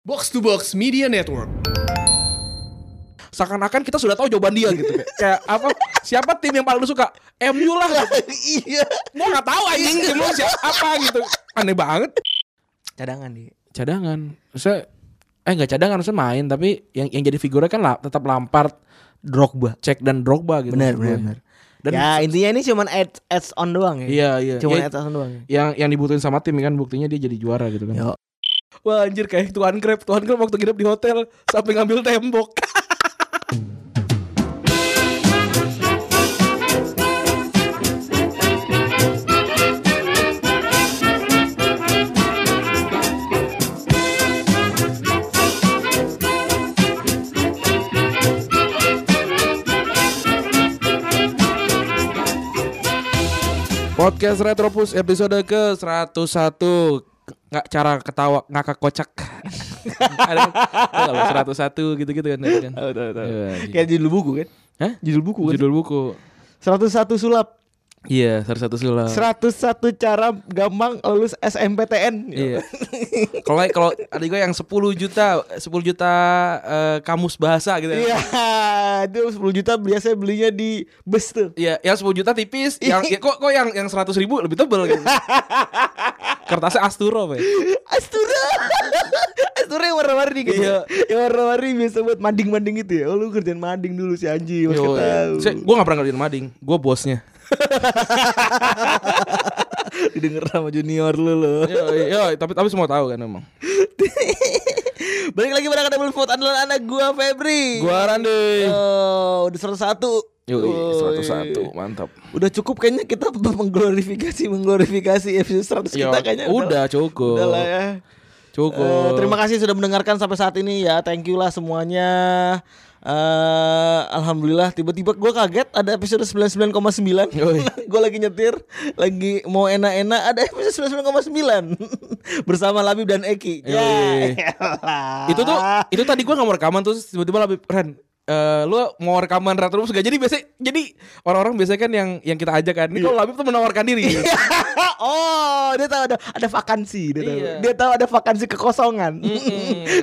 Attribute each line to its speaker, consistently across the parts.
Speaker 1: Box to Box Media Network.
Speaker 2: seakan-akan kita sudah tahu jawaban dia gitu kayak, kayak apa siapa tim yang paling lu suka MU lah gitu.
Speaker 3: iya
Speaker 2: gua nggak tahu anjing tim lu siapa apa gitu aneh banget
Speaker 3: cadangan nih
Speaker 2: cadangan saya eh nggak cadangan saya main tapi yang yang jadi figurnya kan lah, tetap Lampard
Speaker 3: Drogba
Speaker 2: cek dan Drogba gitu
Speaker 3: benar
Speaker 2: maksud
Speaker 3: benar
Speaker 2: gue.
Speaker 3: benar
Speaker 2: Dan-
Speaker 3: ya intinya ini cuman ads ads on doang ya
Speaker 2: iya iya
Speaker 3: cuman
Speaker 2: Ya,
Speaker 3: ads on doang ya.
Speaker 2: yang yang dibutuhin sama tim kan buktinya dia jadi juara gitu kan
Speaker 3: Yo.
Speaker 2: wah anjir kayak tuan grab tuan grab waktu nginep di hotel sampai ngambil tembok Podcast Retropus episode ke 101 nggak cara ketawa ngakak kocak ada seratus satu gitu gitu kan ada kan Iya, iya.
Speaker 3: kayak judul buku kan
Speaker 2: Hah?
Speaker 3: judul buku kan
Speaker 2: judul buku
Speaker 3: 101 sulap
Speaker 2: iya seratus satu sulap
Speaker 3: Oh. 101 cara gampang lulus SMPTN
Speaker 2: Iya. Kalau kalau ada gue yang 10 juta, 10 juta eh, kamus bahasa gitu. ya.
Speaker 3: Iya, itu 10 juta biasanya belinya di bus tuh.
Speaker 2: Iya, yang 10 juta tipis, yang ya, kok kok yang yang 100 ribu lebih tebel gitu. Kertasnya Asturo, Pak.
Speaker 3: Astura. Astura yang warna-warni gitu.
Speaker 2: Iya.
Speaker 3: Yang warna-warni biasa buat mading-mading gitu ya. Oh, lu kerjaan mading dulu si Anji, mas
Speaker 2: Yo,
Speaker 3: tahu.
Speaker 2: saya- Gue gak pernah ngerjain mading, gue bosnya.
Speaker 3: Didengar sama junior lu lo.
Speaker 2: Yo, yo, tapi tapi semua tahu kan emang.
Speaker 3: Balik lagi pada kata Vote andalan anak gua Febri.
Speaker 2: Gua Randy.
Speaker 3: Oh, udah 101.
Speaker 2: Yo,
Speaker 3: Woi.
Speaker 2: 101, mantap.
Speaker 3: Udah cukup kayaknya kita mengglorifikasi mengglorifikasi episode 100
Speaker 2: Yo,
Speaker 3: kita kayaknya.
Speaker 2: Ya, udah
Speaker 3: lah.
Speaker 2: cukup.
Speaker 3: Udah lah ya.
Speaker 2: Cukup.
Speaker 3: Eh, terima kasih sudah mendengarkan sampai saat ini ya. Thank you lah semuanya. Eh, Alhamdulillah tiba-tiba gue kaget ada episode 99,9
Speaker 2: Yoi.
Speaker 3: Gue lagi nyetir Lagi mau enak-enak Ada episode 99,9 Bersama Labib dan Eki Ya
Speaker 2: Yoi.
Speaker 3: elah.
Speaker 2: itu tuh itu tadi gua nggak mau rekaman terus tiba-tiba lebih Ren eh, lu mau rekaman Retro Moves gak jadi biasa jadi orang-orang biasanya kan yang yang kita ajak kan ini
Speaker 3: Iya.
Speaker 2: kalau Labib tuh menawarkan diri
Speaker 3: Oh dia tahu ada, ada vakansi dia tahu.
Speaker 2: Iya.
Speaker 3: dia tahu ada vakansi kekosongan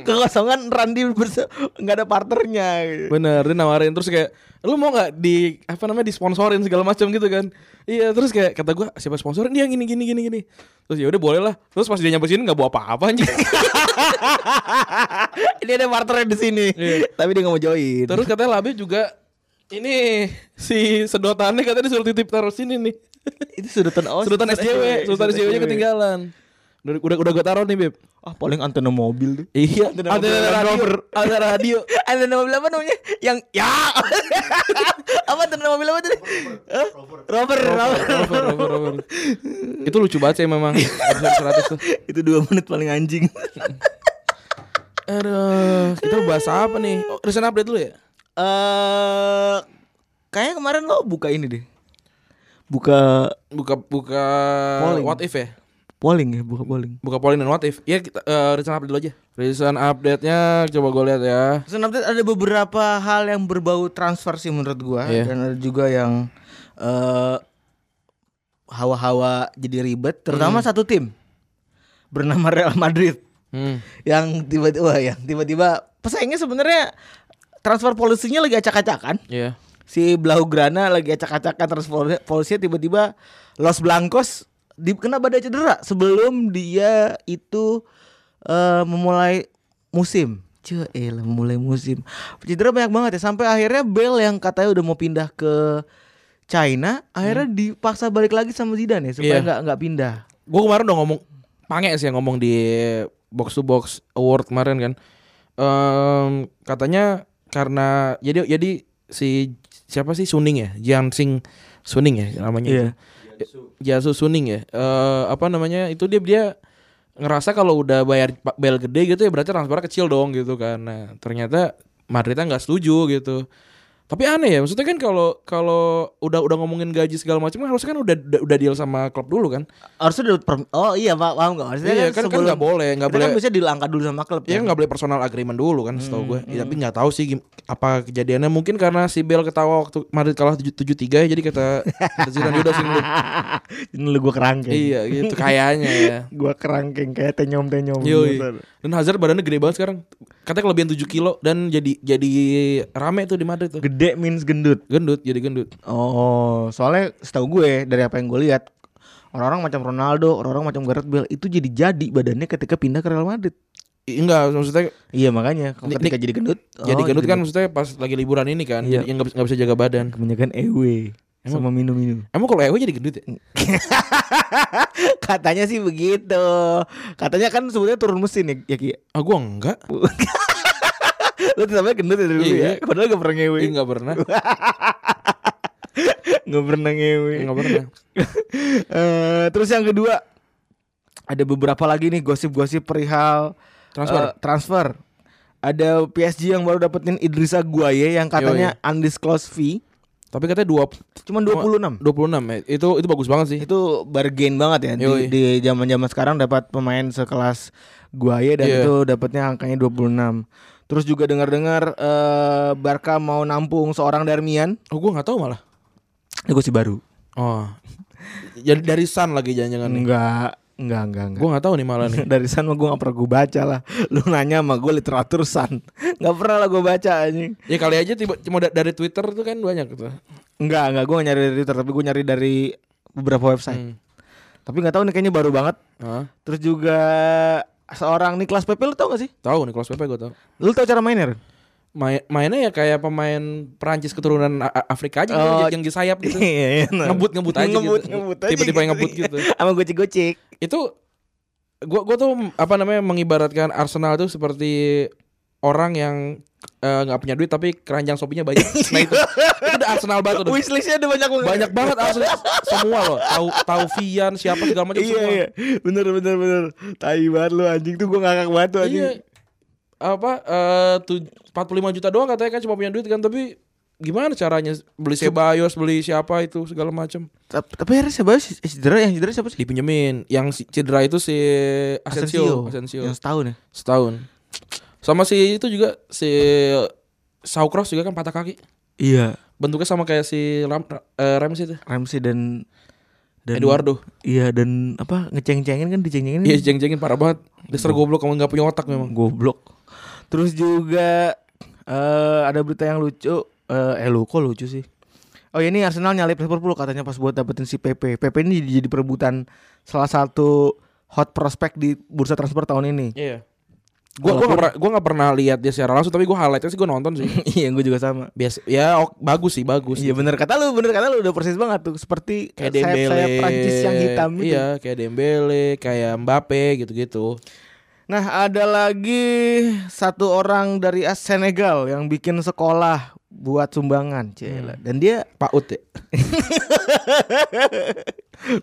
Speaker 3: Kekosongan Randy berse- nggak ada partnernya gitu.
Speaker 2: bener dia nawarin terus kayak lu mau nggak di apa namanya disponsorin segala macam gitu kan iya terus kayak kata gua siapa sponsorin dia yang gini gini gini gini terus ya udah boleh lah terus pas dia nyampe sini nggak bawa apa-apa anjing
Speaker 3: Dia ada partnernya di sini Tapi dia nggak mau join
Speaker 2: terus katanya Labib juga ini si sedotannya katanya disuruh titip taruh sini nih
Speaker 3: itu sudutan oh,
Speaker 2: sedotan SJW sedotan SJW nya ketinggalan udah udah, udah gue taruh nih Beb
Speaker 3: ah paling antena mobil tuh
Speaker 2: Iya,
Speaker 3: Antena
Speaker 2: ada
Speaker 3: mobil Land
Speaker 2: radio,
Speaker 3: Rover.
Speaker 2: ada radio.
Speaker 3: antena mobil apa namanya yang ya apa antena mobil apa tadi Hah? rover rover
Speaker 2: Rover, rover, rover. Itu lucu banget sih memang episode 100 tuh.
Speaker 3: itu dua menit paling anjing
Speaker 2: Aduh, kita bahas apa nih? Oh, recent update dulu ya?
Speaker 3: eh kayaknya kemarin lo buka ini deh buka
Speaker 2: Buka buka
Speaker 3: Polling.
Speaker 2: what if ya?
Speaker 3: polling ya buka polling
Speaker 2: Buka polling dan what if. Ya kita eh, recent update dulu aja. Recent update-nya coba gue lihat ya.
Speaker 3: Recent update ada beberapa hal yang berbau transfer sih menurut gua
Speaker 2: Iya.
Speaker 3: dan ada juga yang eh, hawa-hawa jadi ribet terutama satu tim bernama Real Madrid
Speaker 2: Hmm.
Speaker 3: yang tiba-tiba wah, yang tiba-tiba pesaingnya sebenarnya transfer polisinya lagi acak-acakan
Speaker 2: Iya.
Speaker 3: si Blaugrana lagi acak-acakan transfer polisinya tiba-tiba Los Blancos di, kena badai cedera sebelum dia itu eh, memulai musim Cue elah, mulai musim Cedera banyak banget ya Sampai akhirnya Bell yang katanya udah mau pindah ke China Akhirnya dipaksa balik lagi sama Zidane ya Supaya
Speaker 2: Hmm. Iya.
Speaker 3: nggak nggak pindah
Speaker 2: Gue kemarin udah ngomong Pange sih yang ngomong di Box to Box Award kemarin kan Em, Katanya karena Jadi jadi si siapa sih Suning ya Jiansing Suning ya namanya
Speaker 3: Iya.
Speaker 2: itu. Jiangsu Suning ya Eh, Apa namanya itu dia dia ngerasa kalau udah bayar pa- bel gede gitu ya berarti transfernya kecil dong gitu kan Nah ternyata Madridnya nggak setuju gitu Tapi aneh ya, maksudnya kan kalau kalau udah udah ngomongin gaji segala macam kan harusnya kan udah udah, udah deal sama klub dulu kan.
Speaker 3: Harusnya udah per- oh iya pak paham nggak? Harusnya
Speaker 2: Iya, kan- kan
Speaker 3: sebelum-
Speaker 2: nggak boleh, nggak
Speaker 3: kita kan
Speaker 2: boleh.
Speaker 3: biasanya dilangkah dulu sama klub.
Speaker 2: Ya
Speaker 3: kan?
Speaker 2: nggak boleh personal agreement dulu kan, setahu gue. Ya, tapi nggak tahu sih gim- apa kejadiannya. Mungkin karena si Bel ketawa waktu Madrid kalah 7-3 ya, jadi kata kata Zidane udah sih lu."
Speaker 3: Ini lu gue kerangkeng.
Speaker 2: Iya gitu kayaknya ya.
Speaker 3: Gue kerangkeng kayak gitu. tenyom tenyom.
Speaker 2: Yoi. Dan Hazard badannya gede banget sekarang. Katanya kelebihan 7 kilo dan jadi jadi rame tuh di Madrid tuh.
Speaker 3: Gede means gendut.
Speaker 2: Gendut, jadi gendut.
Speaker 3: Oh, soalnya setahu gue dari apa yang gue lihat orang-orang macam Ronaldo, orang-orang macam Gareth Bale itu jadi jadi badannya ketika pindah ke Real Madrid.
Speaker 2: I- Enggak, maksudnya
Speaker 3: Iya makanya
Speaker 2: Nik-
Speaker 3: ketika
Speaker 2: nik-
Speaker 3: jadi gendut,
Speaker 2: jadi
Speaker 3: oh,
Speaker 2: gendut kan maksudnya pas lagi liburan ini kan,
Speaker 3: Iya.
Speaker 2: jadi yang nggak nggak bisa jaga badan.
Speaker 3: kebanyakan EW sama minum-minum.
Speaker 2: Emang kalau EW jadi gendut ya?
Speaker 3: Katanya sih begitu. Katanya kan sebetulnya turun mesin ya, ya Ki.
Speaker 2: Ah gua enggak.
Speaker 3: Lu sampai gendut ya dari dulu
Speaker 2: Iya.
Speaker 3: ya. Padahal gak pernah ngewe.
Speaker 2: Ih, enggak pernah.
Speaker 3: Gak pernah ngewe.
Speaker 2: Enggak pernah.
Speaker 3: Eh, terus yang kedua ada beberapa lagi nih gosip-gosip perihal
Speaker 2: Transfer.
Speaker 3: eh, transfer. Ada PSG yang baru dapetin Idrissa Guaye yang katanya undisclosed fee
Speaker 2: Tapi katanya dua
Speaker 3: cuma
Speaker 2: 26
Speaker 3: 26.
Speaker 2: ya. Itu itu bagus banget sih.
Speaker 3: Itu bargain banget ya
Speaker 2: Yoi.
Speaker 3: di- di zaman-zaman sekarang dapat pemain sekelas Guaye dan
Speaker 2: Iya.
Speaker 3: itu dapatnya angkanya 26. Terus juga dengar-dengar eh, Barca mau nampung seorang Darmian.
Speaker 2: Oh, gua nggak tahu malah.
Speaker 3: Ini gosip baru.
Speaker 2: Oh. Jadi dari Sun lagi jangan-jangan nih.
Speaker 3: Enggak, enggak, enggak, enggak.
Speaker 2: Gua nggak tahu nih malah nih.
Speaker 3: dari San mah gue gak pernah gue baca lah Lu nanya sama gue literatur San Gak pernah lah gue baca anjing
Speaker 2: Ya kali aja tiba cuma da- dari Twitter tuh kan banyak tuh.
Speaker 3: Enggak, enggak gue nyari dari Twitter Tapi gue nyari dari beberapa website
Speaker 2: Hmm.
Speaker 3: Tapi gak tahu nih kayaknya baru banget
Speaker 2: Hah?
Speaker 3: Terus juga seorang Niklas Pepe lu tau gak sih?
Speaker 2: Tahu nih Pepe gua tahu.
Speaker 3: Lu tau cara mainnya Ren?
Speaker 2: Main, mainnya ya kayak pemain Perancis keturunan A- A- Afrika aja
Speaker 3: Oh.
Speaker 2: gitu, yang di sayap gitu.
Speaker 3: Iya, iya, bener.
Speaker 2: Ngebut-ngebut aja gitu.
Speaker 3: Ngebut-ngebut aja
Speaker 2: Tiba-tiba yang
Speaker 3: gitu.
Speaker 2: ngebut gitu.
Speaker 3: Sama gocek-gocek
Speaker 2: itu gua gua tuh apa namanya mengibaratkan Arsenal tuh seperti orang yang eh, nggak punya duit tapi keranjang sopinya banyak. Nah itu, itu udah Arsenal banget udah.
Speaker 3: Wishlistnya udah banyak banget
Speaker 2: Banyak banget asli semua loh. Tau Taufian siapa segala macam
Speaker 3: Iya,
Speaker 2: semua.
Speaker 3: iya Bener, bener, bener Tai banget lu anjing tuh gue ngakak banget tuh anjing
Speaker 2: Iya. Apa eh tu- 45 juta doang katanya kan cuma punya duit kan tapi gimana caranya beli Sebayos, beli siapa itu segala macam.
Speaker 3: Tapi tapi akhirnya siapa sih? Eh, cedera yang cedera siapa sih?
Speaker 2: Dipinjemin. Yang si- cedera itu si Asensio, Asensio.
Speaker 3: Yang setahun ya
Speaker 2: setahun sama si itu juga si Saucross juga kan patah kaki
Speaker 3: Iya
Speaker 2: bentuknya sama kayak si Ram, eh, Rams itu
Speaker 3: Ramsey dan dan
Speaker 2: Eduardo
Speaker 3: Iya dan apa ngeceng-cengin kan diceng-cengin
Speaker 2: iya jeng-jengin parah banget dasar goblok kamu nggak punya otak memang
Speaker 3: goblok. Terus juga eh ada berita yang lucu eh eh lu kok lucu sih. Oh ini Arsenal nyalip Liverpool katanya pas buat dapetin si PP. PP ini jadi jadi perebutan salah satu hot prospect di bursa transfer tahun ini.
Speaker 2: iya gua gua nggak pernah gua nggak pernah lihat dia secara langsung tapi gua highlightnya sih gua nonton sih
Speaker 3: Iya, gue juga sama.
Speaker 2: biasa ya ok, bagus sih bagus
Speaker 3: Iya bener kata lu, bener kata lu udah persis banget tuh seperti
Speaker 2: kayak
Speaker 3: sayap-
Speaker 2: Dembele
Speaker 3: sayap Prancis yang hitam gitu.
Speaker 2: iya kayak Dembele kayak Mbappe gitu-gitu
Speaker 3: Nah ada lagi satu orang dari as- Senegal yang bikin sekolah buat sumbangan Cila. Dan dia
Speaker 2: Paut ya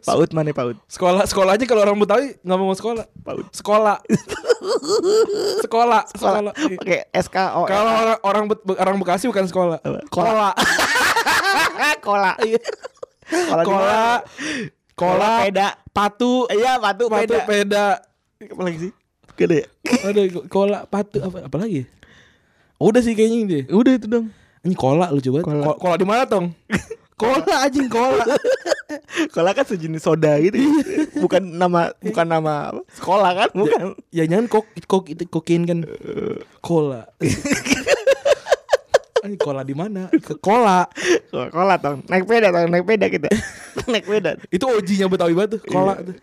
Speaker 3: Paut mana Paut?
Speaker 2: sekolah sekolah aja kalau orang Betawi nggak mau sekolah sekolah sekolah sekolah, Iya.
Speaker 3: Pakai SKO
Speaker 2: Kalau orang orang Be- orang Bekasi bukan sekolah. Kola. Iya.
Speaker 3: Kola Kola
Speaker 2: Kola. Kola.
Speaker 3: Kola peda
Speaker 2: Patu.
Speaker 3: Iya patu,
Speaker 2: Patu
Speaker 3: peda
Speaker 2: peda.
Speaker 3: Apa lagi sih? Gede
Speaker 2: Ada kola patu apa apa lagi? Udah sih kayaknya ini. deh.
Speaker 3: Udah itu dong
Speaker 2: Ini kola lu coba.
Speaker 3: Kola.
Speaker 2: Kola, kola di mana, Tong? kola anjing kola.
Speaker 3: Kola kan sejenis soda gitu Bukan nama Bukan nama apa? Sekolah kan Bukan
Speaker 2: ya jangan kok kok itu kokain kan. Kola. Ini kola di mana? Ke- Kola.
Speaker 3: Kola tong Naik peda tong Naik peda kita Naik peda
Speaker 2: Itu OG-nya Betawi banget tuh, kola
Speaker 3: Iya.
Speaker 2: tuh.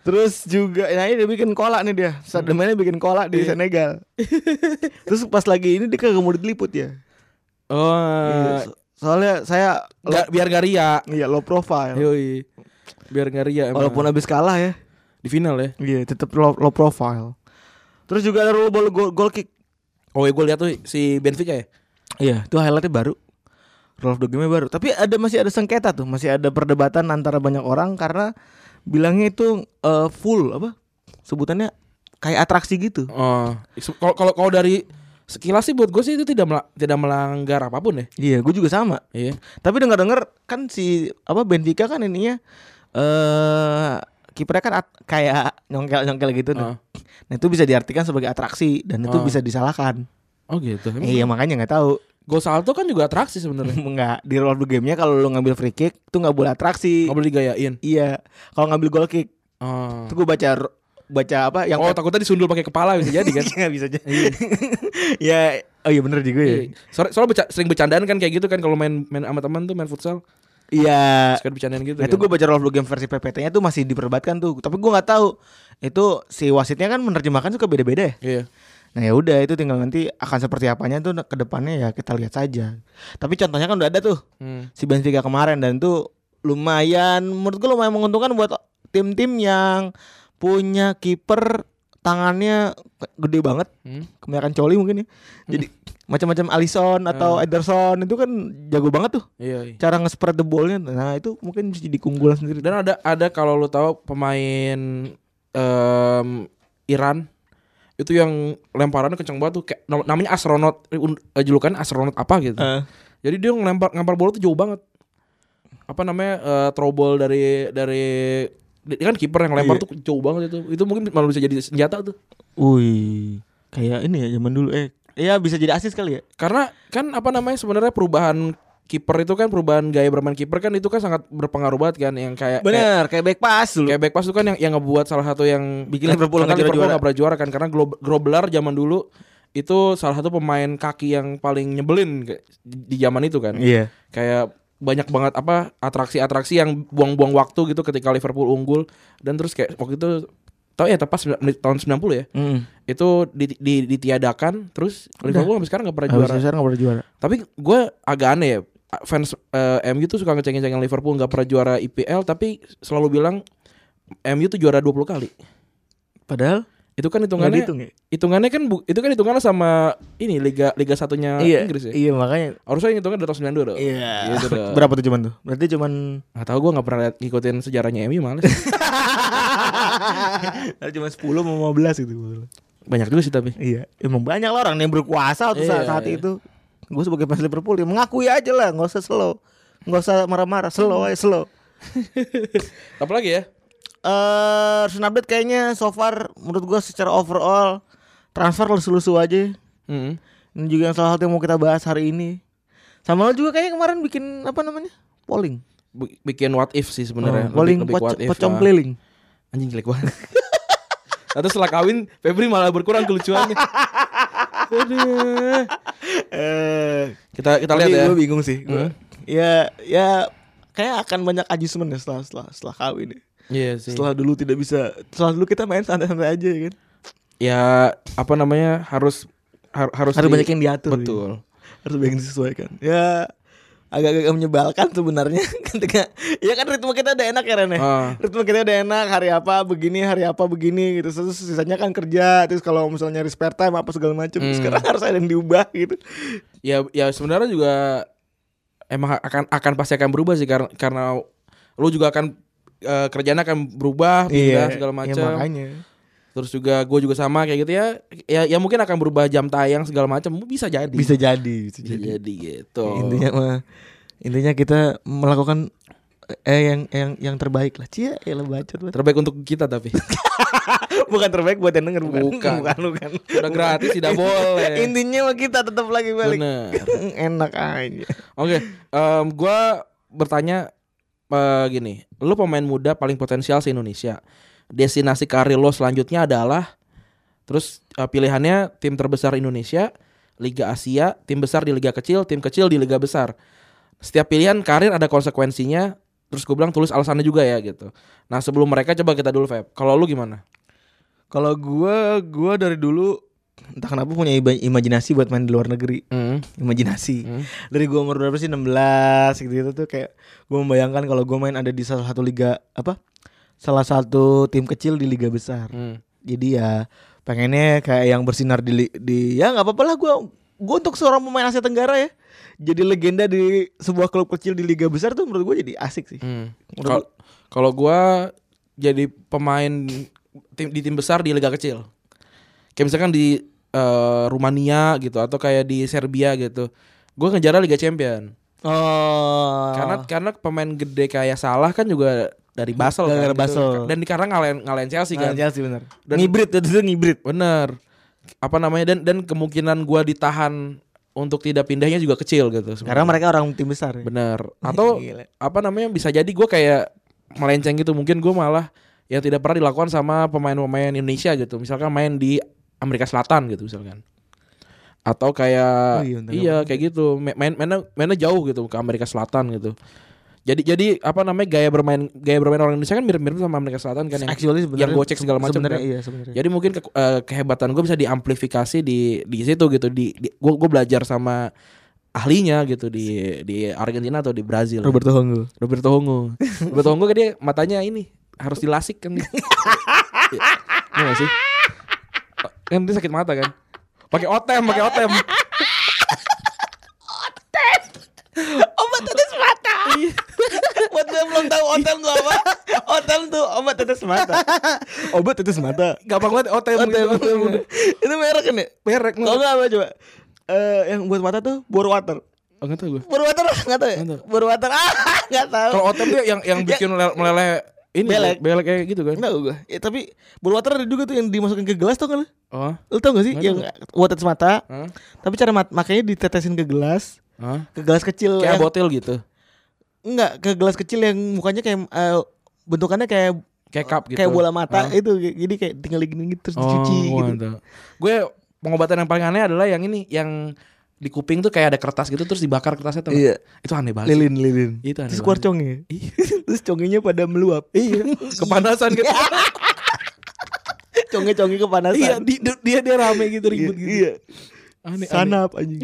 Speaker 3: Terus juga Nah ini dia bikin kolak nih dia Sademannya bikin kolak di Senegal Terus pas lagi ini dia kagak mau diliput ya Eh, Iya,
Speaker 2: Oh.
Speaker 3: So- Soalnya saya lo,
Speaker 2: ga- biar gak ria.
Speaker 3: Iya low profile
Speaker 2: Yoi. Biar gak ria emang.
Speaker 3: Walaupun habis kalah ya
Speaker 2: di final ya.
Speaker 3: Iya tetap low, low profile Terus juga ada rule ball goal, goal kick
Speaker 2: Oh ya gue lihat tuh si Benfica ya.
Speaker 3: Iya itu highlightnya baru Rule of the game baru Tapi ada masih ada sengketa tuh Masih ada perdebatan antara banyak orang Karena bilangnya itu eh, full apa Sebutannya kayak atraksi gitu
Speaker 2: Oh, se- kalau kalau kalau dari Sekilas sih buat gue sih itu tidak mela- tidak melanggar apapun ya.
Speaker 3: Iya, gue juga sama.
Speaker 2: Iya.
Speaker 3: Tapi dengar-dengar kan si apa Benfica kan ininya eh kipernya kan at- kayak nyongkel-nyongkel gitu
Speaker 2: Ah.
Speaker 3: nah. Nah, itu bisa diartikan sebagai atraksi dan itu
Speaker 2: Ah.
Speaker 3: bisa disalahkan.
Speaker 2: Oh gitu.
Speaker 3: Eh, Iya, makanya nggak tahu.
Speaker 2: Gol salto kan juga atraksi sebenarnya.
Speaker 3: Enggak di rule of the game-nya kalau lu ngambil free kick itu nggak boleh atraksi.
Speaker 2: Nggak boleh digayain.
Speaker 3: Iya, kalau ngambil goal kick
Speaker 2: Oh.
Speaker 3: itu gue baca baca apa yang
Speaker 2: oh takutnya disundul pakai kepala bisa jadi kan.
Speaker 3: Nggak bisa aja. ya, oh iya bener juga ya.
Speaker 2: Iya. Soalnya, soalnya beca- sering bercandaan kan kayak gitu kan kalau main main sama teman tuh main futsal
Speaker 3: Iya.
Speaker 2: suka bercandaan gitu.
Speaker 3: Nah, itu
Speaker 2: kan.
Speaker 3: gue baca rule of the game versi PPT-nya tuh masih diperdebatkan tuh. Tapi gue nggak tahu itu si wasitnya kan menerjemahkan suka beda-beda ya.
Speaker 2: Iya.
Speaker 3: Nah ya udah itu tinggal nanti akan seperti apanya tuh ke depannya ya kita lihat saja. Tapi contohnya kan udah ada tuh
Speaker 2: Hmm.
Speaker 3: si Benfica kemarin dan itu lumayan menurut gue lumayan menguntungkan buat tim-tim yang punya kiper tangannya ke- gede banget
Speaker 2: Hmm.
Speaker 3: kebanyakan coli mungkin ya. Jadi macam-macam Alisson atau Ederson itu kan jago banget tuh
Speaker 2: Iya. iya.
Speaker 3: cara nge-spread the ball-nya. Nah, itu mungkin bisa jadi keunggulan sendiri.
Speaker 2: Dan ada ada kalau lu tahu pemain em, Iran itu yang lemparannya kenceng banget tuh kayak nam- namanya astronot un- eh, julukan astronot apa gitu.
Speaker 3: Eh.
Speaker 2: Jadi dia ngelempar ngelempar bola tuh jauh banget. Apa namanya eh, throw ball dari dari dia kan kiper yang lempar
Speaker 3: Iya.
Speaker 2: tuh jauh banget itu. Itu mungkin malah bisa jadi senjata tuh.
Speaker 3: Wih, kayak ini ya zaman dulu eh. Iya bisa jadi asis kali ya.
Speaker 2: Karena kan apa namanya sebenarnya perubahan kiper itu kan perubahan gaya bermain kiper kan itu kan sangat berpengaruh banget kan yang kayak kayak-
Speaker 3: Bener, kayak back pass dulu.
Speaker 2: Kayak back pass itu kan yang yang ngebuat salah satu yang
Speaker 3: Bikin Liverpool
Speaker 2: karena
Speaker 3: nggak juara-juara.
Speaker 2: Liverpool nggak pernah juara kan karena Glo- Grobler zaman dulu itu salah satu pemain kaki yang paling nyebelin ke- di zaman itu kan.
Speaker 3: Iya.
Speaker 2: Kayak banyak banget apa atraksi-atraksi yang buang-buang waktu gitu ketika Liverpool unggul dan terus kayak waktu itu tau ya tepat sembilan- tahun 90 ya itu di, di- ditiadakan terus Liverpool sampai sekarang nggak pernah juara.
Speaker 3: Habis besar nggak pernah juara.
Speaker 2: Tapi gue agak aneh ya fans eh, MU tuh suka ngecengin-cengin Liverpool nggak pernah juara IPL tapi selalu bilang MU tuh juara 20 kali.
Speaker 3: Padahal
Speaker 2: Itu kan
Speaker 3: nggak
Speaker 2: hitungannya
Speaker 3: dihitung ya.
Speaker 2: hitungannya kan bu- itu kan hitungannya sama ini liga liga satunya
Speaker 3: iya.
Speaker 2: Inggris ya.
Speaker 3: Iya makanya.
Speaker 2: Harusnya yang hitungannya dari tahun 92 dong.
Speaker 3: Iya.
Speaker 2: Gitu dong.
Speaker 3: Berapa tuh cuman tuh? Berarti cuman
Speaker 2: Nggak tahu gue nggak pernah liat- ngikutin sejarahnya MU males.
Speaker 3: Berarti cuman 10 sama 15 gitu.
Speaker 2: Banyak juga sih tapi.
Speaker 3: Iya. Emang banyak lah orang yang berkuasa waktu saat,
Speaker 2: Iya,
Speaker 3: saat
Speaker 2: iya.
Speaker 3: itu. Gue sebagai fans Liverpool ya mengakui aja lah, nggak usah slow. Nggak usah marah-marah, slow aja slow.
Speaker 2: Apa lagi ya?
Speaker 3: Eh, uh, update kayaknya so far menurut gua secara overall transfer lusu-lusu aja.
Speaker 2: Hmm.
Speaker 3: Ini juga yang salah satu yang mau kita bahas hari ini. Sama lo juga kayaknya kemarin bikin apa namanya? Polling.
Speaker 2: Bi- Bikin what if sih sebenarnya.
Speaker 3: Oh,
Speaker 2: ya,
Speaker 3: polling
Speaker 2: Lebih- lebih
Speaker 3: poc-
Speaker 2: what if,
Speaker 3: pocong
Speaker 2: ah.
Speaker 3: keliling.
Speaker 2: Anjing jelek banget. Atau setelah kawin Febri malah berkurang kelucuannya. Aduh.
Speaker 3: Eh,
Speaker 2: Kita kita
Speaker 3: tapi
Speaker 2: lihat ya.
Speaker 3: Gua bingung sih. Gua. Ya, ya kayak akan banyak adjustment ya setelah setelah setelah kawin. ya.
Speaker 2: Iya sih.
Speaker 3: Setelah dulu tidak bisa, setelah dulu kita main santai-santai aja ya kan.
Speaker 2: Ya apa namanya harus har- harus
Speaker 3: Harus
Speaker 2: di-
Speaker 3: banyak yang diatur. iya.
Speaker 2: Betul.
Speaker 3: harus banyak disesuaikan ya agak-agak menyebalkan sebenarnya ketika ya kan ritme kita udah enak ya Ren ya?
Speaker 2: Ah.
Speaker 3: ritme kita udah enak hari apa begini hari apa begini gitu terus sisanya kan kerja terus kalau misalnya nyari spare time apa segala macam
Speaker 2: Hmm.
Speaker 3: sekarang harus ada yang diubah gitu
Speaker 2: Ya ya sebenarnya juga emang akan akan pasti akan berubah sih karena karena lu juga akan eh, kerjaan akan berubah pindah segala
Speaker 3: ya
Speaker 2: macam.
Speaker 3: makanya
Speaker 2: Terus juga gue juga sama kayak gitu ya. Ya ya mungkin akan berubah jam tayang segala macam bisa jadi.
Speaker 3: bisa jadi bisa
Speaker 2: Bisa
Speaker 3: jadi
Speaker 2: jadi gitu.
Speaker 3: intinya mah intinya kita melakukan eh yang yang yang terbaik lah cia ya bacot banget.
Speaker 2: Terbaik untuk kita tapi.
Speaker 3: bukan terbaik buat yang denger bukan
Speaker 2: Bukan.
Speaker 3: bukan, bukan.
Speaker 2: Udah gratis tidak boleh.
Speaker 3: intinya mah kita tetap lagi balik
Speaker 2: Bener.
Speaker 3: enak aja
Speaker 2: Oke, em, gua bertanya eh, gini, lu pemain muda paling potensial se Indonesia. Destinasi karir lo selanjutnya adalah terus eh, pilihannya tim terbesar Indonesia, Liga Asia, tim besar di liga kecil, tim kecil di liga besar. Setiap pilihan karir ada konsekuensinya. Terus gue bilang tulis alasannya juga ya gitu. Nah sebelum mereka coba kita dulu Feb. Kalau lu gimana?
Speaker 3: Kalau gua gua dari dulu entah kenapa punya ima- imajinasi buat main di luar negeri.
Speaker 2: Hmm.
Speaker 3: Imajinasi.
Speaker 2: Hmm.
Speaker 3: Dari gua umur berapa sih 16 gitu, gitu tuh kayak gua membayangkan kalau gua main ada di salah satu liga apa? Salah satu tim kecil di liga besar.
Speaker 2: Hmm.
Speaker 3: Jadi ya pengennya kayak yang bersinar di li- di ya nggak apa-apa lah gua gua untuk seorang pemain Asia Tenggara ya. Jadi legenda di sebuah klub kecil di liga besar tuh menurut gua jadi asik sih.
Speaker 2: Hmm.
Speaker 3: Menurut
Speaker 2: Kalau kalau gua jadi pemain tim di tim besar di liga kecil. Kayak misalkan di eh, Rumania gitu atau kayak di Serbia gitu. Gue ngejar Liga Champion.
Speaker 3: Oh.
Speaker 2: Karena karena pemain gede kayak Salah kan juga dari Basel kan.
Speaker 3: Hmm. Dari
Speaker 2: gitu.
Speaker 3: Basel.
Speaker 2: Dan di karena ngalahin ngalahin Chelsea kan.
Speaker 3: Nah, Chelsea bener.
Speaker 2: Dan-
Speaker 3: ngibrit itu tuh ngibrit.
Speaker 2: Bener. Apa namanya dan dan kemungkinan gua ditahan untuk tidak pindahnya juga kecil gitu. sebenarnya.
Speaker 3: Karena mereka orang tim besar. Ya.
Speaker 2: bener atau
Speaker 3: Gila.
Speaker 2: apa namanya bisa jadi gua kayak melenceng gitu mungkin gua malah yang tidak pernah dilakukan sama pemain-pemain Indonesia gitu. Misalkan main di Amerika Selatan gitu misalkan. Atau kayak
Speaker 3: Oh iya, bentar,
Speaker 2: iya kayak gitu. Ma- Main mainnya mainnya jauh gitu ke Amerika Selatan gitu. Jadi jadi apa namanya gaya bermain gaya bermain orang Indonesia kan mirip-mirip sama Amerika Selatan kan yang,
Speaker 3: Actually
Speaker 2: yang gocek segala macam.
Speaker 3: Sebenarnya
Speaker 2: kan.
Speaker 3: iya sebenarnya.
Speaker 2: Jadi mungkin ke- eh, kehebatan gue bisa diamplifikasi di di situ gitu di, di gue gue belajar sama ahlinya gitu di di Argentina atau di Brazil.
Speaker 3: Roberto Honggo.
Speaker 2: Roberto Hongo. Roberto Hongo kan dia matanya ini harus dilasik kan. Iya Iya nggak sih? Kan dia sakit mata kan. Pakai otem, pakai otem.
Speaker 3: Obat Oh, tetes mata. Buat yang belum tahu otem tuh apa? Otem tuh obat tetes mata. Iya, Obat Oh, tetes mata.
Speaker 2: Gampang banget otem.
Speaker 3: Otem,
Speaker 2: gitu.
Speaker 3: otem. Itu merek kan ya?
Speaker 2: Merek.
Speaker 3: Tau nggak apa coba? Eh yang buat mata tuh bore water.
Speaker 2: Oh, nggak tahu gue.
Speaker 3: Bore water nggak tahu ya?
Speaker 2: Nggak tahu.
Speaker 3: Bore water ah nggak tahu.
Speaker 2: Kalau otem tuh yang yang bikin lel- meleleh ini
Speaker 3: Ya. Belek.
Speaker 2: belek kayak gitu kan.
Speaker 3: Nggak tahu gue. Ya, tapi bore water ada juga tuh yang dimasukin ke gelas tuh kan?
Speaker 2: Oh.
Speaker 3: Lu tau gak sih
Speaker 2: Nggak
Speaker 3: yang buat tetes mata?
Speaker 2: Hah?
Speaker 3: Tapi cara mat makanya ditetesin ke gelas,
Speaker 2: Hah?
Speaker 3: ke gelas kecil.
Speaker 2: Kayak
Speaker 3: yang-
Speaker 2: botil gitu.
Speaker 3: Enggak, ke gelas kecil yang mukanya kayak eh, bentukannya kayak
Speaker 2: Kayak cup gitu.
Speaker 3: kayak bola mata
Speaker 2: Hah? Oh,
Speaker 3: itu jadi kayak tinggal gini gitu, terus dicuci gitu.
Speaker 2: Gue pengobatan yang paling aneh adalah yang ini yang di kuping tuh kayak ada kertas gitu terus dibakar kertasnya tuh.
Speaker 3: Iya.
Speaker 2: Itu aneh banget. sih.
Speaker 3: Lilin, lilin.
Speaker 2: Itu aneh
Speaker 3: Terus keluar
Speaker 2: banget.
Speaker 3: congnya.
Speaker 2: Iya.
Speaker 3: terus congenya pada meluap. Iya.
Speaker 2: Kepanasan gitu.
Speaker 3: Conge-conge kepanasan.
Speaker 2: iya, di- di- dia dia rame gitu
Speaker 3: Iya,
Speaker 2: ribut gitu.
Speaker 3: Iya.
Speaker 2: Aneh, aneh.
Speaker 3: Sanap anjing.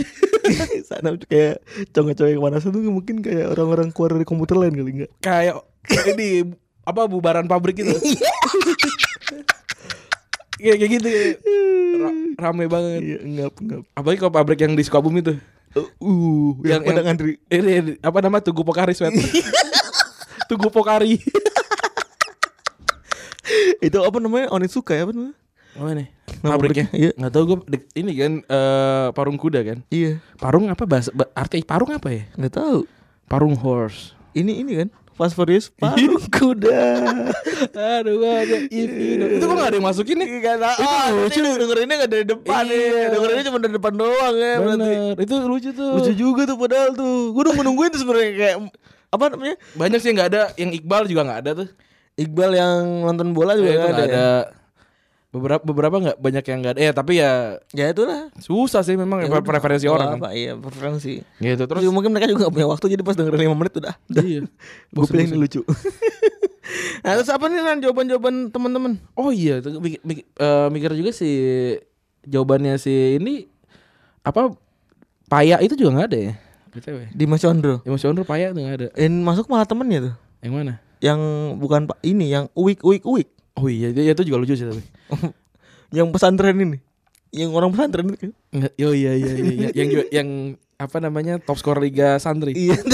Speaker 3: Sanap tuh kayak conge-conge kepanasan tuh mungkin kayak orang-orang keluar dari komputer lain kali enggak.
Speaker 2: Kayak ini apa bubaran pabrik gitu.
Speaker 3: Iya.
Speaker 2: kayak kayak gitu. Ra- rame banget.
Speaker 3: Iya, engap, engap.
Speaker 2: Apalagi kalau pabrik yang di Sukabumi tuh.
Speaker 3: Uh, yang,
Speaker 2: Yang-
Speaker 3: pada
Speaker 2: yang-
Speaker 3: ngantri.
Speaker 2: Ini apa nama Tugu Pokari Sweat.
Speaker 3: Iya.
Speaker 2: Tugu Pokari.
Speaker 3: Itu apa namanya? Onitsuka ya apa namanya?
Speaker 2: Apa nih?
Speaker 3: Nama
Speaker 2: Pabriknya.
Speaker 3: pabriknya, iya.
Speaker 2: Nggak tahu gue ini kan eh, parung kuda kan.
Speaker 3: Iya.
Speaker 2: Parung apa bahasa ba- arti parung apa ya?
Speaker 3: Enggak tahu.
Speaker 2: Parung horse.
Speaker 3: Ini ini kan Fast Furious Parung kuda
Speaker 2: Aduh, ada if you
Speaker 3: Iya.
Speaker 2: know. Itu kok gak ada yang masukin nih?
Speaker 3: Gak tau Oh nanti lu dengerinnya gak dari depan
Speaker 2: Iya.
Speaker 3: ya Dengerinnya cuma dari depan doang ya berarti
Speaker 2: Bener, itu lucu tuh.
Speaker 3: Lucu juga tuh padahal tuh Gue udah nungguin tuh sebenernya kayak Apa namanya
Speaker 2: Banyak sih yang gak ada, yang Iqbal juga gak ada tuh.
Speaker 3: Iqbal yang nonton bola juga
Speaker 2: Eh, itu
Speaker 3: gak ada, ya?
Speaker 2: nggak
Speaker 3: ada.
Speaker 2: Beberapa beberapa nggak banyak yang gak ada. Eh, tapi ya
Speaker 3: Ya itulah
Speaker 2: susah sih memang
Speaker 3: Ya udah,
Speaker 2: preferensi
Speaker 3: nggak
Speaker 2: orang kan.
Speaker 3: apa, Iya preferensi
Speaker 2: Gitu
Speaker 3: Terus
Speaker 2: terus.
Speaker 3: Iya, mungkin mereka juga gak punya waktu Jadi pas dengerin 5 menit udah
Speaker 2: Iya.
Speaker 3: Gue
Speaker 2: Bosen,
Speaker 3: pilih yang
Speaker 2: bosen.
Speaker 3: lucu Nah terus apa nih Ran jawaban-jawaban teman-teman
Speaker 2: Oh iya, itu mikir, mikir- eh, mikir juga si jawabannya si ini apa paya itu juga nggak ada ya? BTW.
Speaker 3: Dimas Chandra
Speaker 2: Dimas Chandra paya tuh nggak ada.
Speaker 3: Yang masuk malah temennya tuh
Speaker 2: Yang mana?
Speaker 3: Yang bukan Pak ini Yang uik uik uik
Speaker 2: Oh iya, dia itu juga lucu sih tapi.
Speaker 3: yang pesantren ini yang orang pesantren itu kan
Speaker 2: Nggak- Oh iya iya iya, iya. yang juga- yang apa namanya top skor Liga Santri.
Speaker 3: iya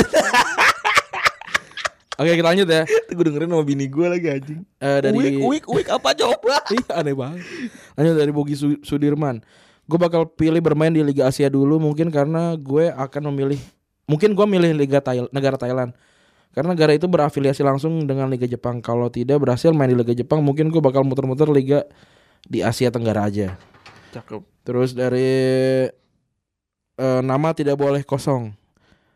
Speaker 2: Oke kita lanjut ya
Speaker 3: gue dengerin sama bini gue lagi anjing
Speaker 2: Eh, dari
Speaker 3: uik uik uik apa coba
Speaker 2: Iya aneh banget. Lanjut dari Bogi Su- Sudirman. Gue bakal pilih bermain di Liga Asia dulu mungkin karena gue akan memilih mungkin gue milih Liga Thailand, negara Thailand. Karena negara itu berafiliasi langsung dengan Liga Jepang. Kalau tidak berhasil main di Liga Jepang, mungkin gue bakal muter-muter liga di Asia Tenggara aja.
Speaker 3: cakep
Speaker 2: Terus dari eh, nama tidak boleh kosong.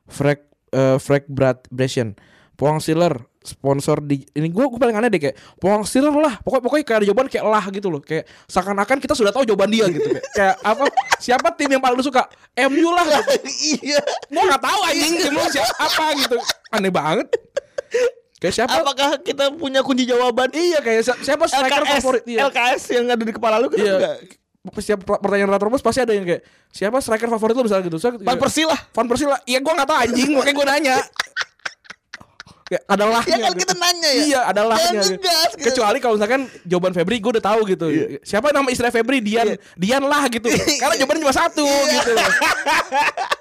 Speaker 2: Frank eh, Frank Brad Brescian. Pohang Stiller sponsor di ini gue gue paling aneh deh kayak Pohang Stiller lah pokoknya pokoknya kayak ada jawaban kayak lah gitu loh kayak seakan-akan kita sudah tahu jawaban dia gitu kayak, kayak apa siapa tim yang paling lu suka MU lah
Speaker 3: iya
Speaker 2: mau nggak tahu anjing tim lu siapa apa gitu aneh banget kayak siapa
Speaker 3: apakah kita punya kunci jawaban
Speaker 2: iya kayak si- siapa striker
Speaker 3: LKS
Speaker 2: favorit iya.
Speaker 3: LKS yang ada di kepala lu kenapa
Speaker 2: Iya.
Speaker 3: enggak
Speaker 2: setiap pertanyaan Ratrobus pasti ada yang kayak siapa striker favorit lu misalnya gitu Saya-
Speaker 3: Van Persie lah
Speaker 2: Van Persie lah. Iya gue gak tau anjing Makanya gue nanya kayak ada lahnya
Speaker 3: Ya kan
Speaker 2: gitu.
Speaker 3: kita nanya ya.
Speaker 2: Iya, ada lahnya.
Speaker 3: Jangan
Speaker 2: gitu.
Speaker 3: ngegas gitu.
Speaker 2: Kecuali kalau misalkan jawaban Febri gue udah tahu gitu.
Speaker 3: Iya.
Speaker 2: Siapa nama istri Febri? Dian. Dian lah gitu. Karena jawabannya cuma satu
Speaker 3: Iya.
Speaker 2: gitu loh.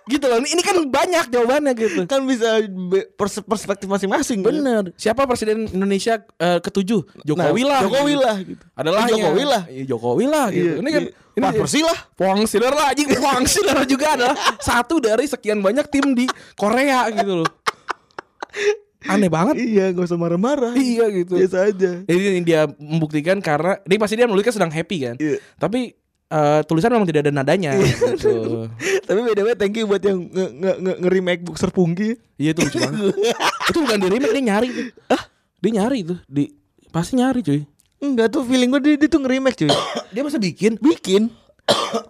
Speaker 2: gitu loh. Ini ini kan banyak jawabannya gitu.
Speaker 3: kan bisa be- pers- perspektif masing-masing. gitu.
Speaker 2: Bener. Siapa presiden Indonesia eh, ketujuh? Jokowi lah.
Speaker 3: Nah, Jokowi lah gitu.
Speaker 2: Adalah
Speaker 3: Jokowi lah.
Speaker 2: Jokowi lah gitu.
Speaker 3: Iya,
Speaker 2: Ini kan
Speaker 3: iya. Wah, Persila.
Speaker 2: Wang Siler lah anjing. Wang Siler juga adalah satu dari sekian banyak tim di Korea gitu loh. Aneh banget.
Speaker 3: Iya, gak usah marah-marah.
Speaker 2: Iya gitu.
Speaker 3: Biasa aja.
Speaker 2: Ini yang dia membuktikan karena dia pasti dia menuliskan sedang happy kan.
Speaker 3: Iya.
Speaker 2: Tapi eh, tulisan memang tidak ada nadanya. gitu.
Speaker 3: Tapi by the way, thank you buat yang nge nge nge remake boxer Pungki.
Speaker 2: Iya itu lucu banget. itu bukan di remake dia nyari tuh. Dia nyari tuh. Di pasti nyari cuy.
Speaker 3: Enggak tuh feeling gue dia, dia tuh nge-remake cuy.
Speaker 2: Dia masa bikin
Speaker 3: Bikin.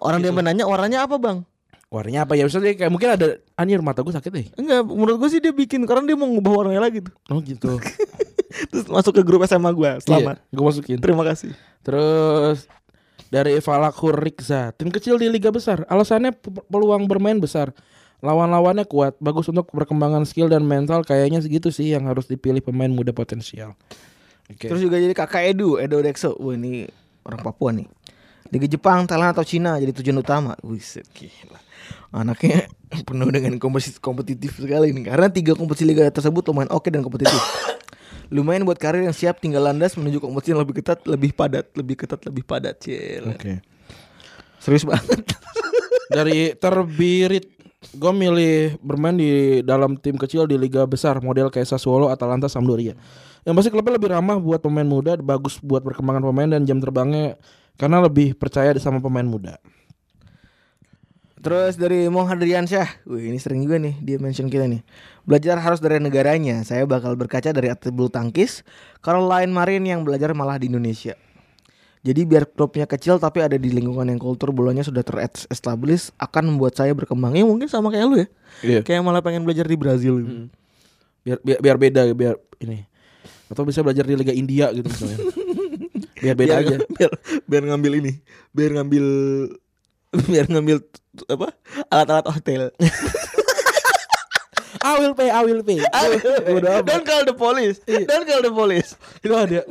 Speaker 3: Orang dia menanya warnanya apa bang?
Speaker 2: warnanya apa ya? Maksudnya kayak mungkin ada anjir mata gue sakit deh.
Speaker 3: Enggak, menurut gue sih dia bikin karena dia mau ngubah warnanya lagi tuh.
Speaker 2: Oh gitu.
Speaker 3: Terus masuk ke grup SMA gue. Selamat.
Speaker 2: Iya, gue masukin.
Speaker 3: Terima kasih.
Speaker 2: Terus dari Valakur Riksa, tim kecil di liga besar. Alasannya pe- peluang bermain besar. Lawan-lawannya kuat, bagus untuk perkembangan skill dan mental. Kayaknya segitu sih yang harus dipilih pemain muda potensial. Oke.
Speaker 3: Terus juga jadi kakak Edu, Edo Dexo. Wah ini orang Papua nih. Liga Jepang, Thailand atau Cina jadi tujuan utama. Wiset gila. Anaknya penuh dengan kompetisi kompetitif sekali nih. Karena tiga kompetisi liga tersebut lumayan oke dan kompetitif. lumayan buat karir yang siap tinggal landas menuju kompetisi yang lebih ketat, lebih padat, lebih ketat, lebih padat. Cil. Serius banget.
Speaker 2: Dari Terbirit, gue milih bermain di dalam tim kecil di liga besar model kayak Sassuolo, Atalanta, Sampdoria. Yang pasti klubnya lebih ramah buat pemain muda, bagus buat perkembangan pemain dan jam terbangnya karena lebih percaya sama pemain muda.
Speaker 3: Terus dari Mo Hadriansyah Wih ini sering juga nih dia mention kita nih Belajar harus dari negaranya Saya bakal berkaca dari atlet bulu tangkis Kalau lain Marin yang belajar malah di Indonesia Jadi biar klubnya kecil tapi ada di lingkungan yang kultur bolanya sudah terestablish Akan membuat saya berkembang Ya mungkin sama kayak lu ya
Speaker 2: Iya. Hmm,
Speaker 3: Kayak malah pengen belajar di Brazil gitu.
Speaker 2: biar biar, biar beda biar ini atau bisa belajar di liga India gitu misalnya biar beda
Speaker 3: biar,
Speaker 2: aja
Speaker 3: Iya, biar, biar ngambil ini Biar ngambil Biar ngambil apa Alat-alat hotel
Speaker 2: I will pay I will pay udah
Speaker 3: Don't call the police
Speaker 2: Iya.
Speaker 3: Don't call the police
Speaker 2: itu ada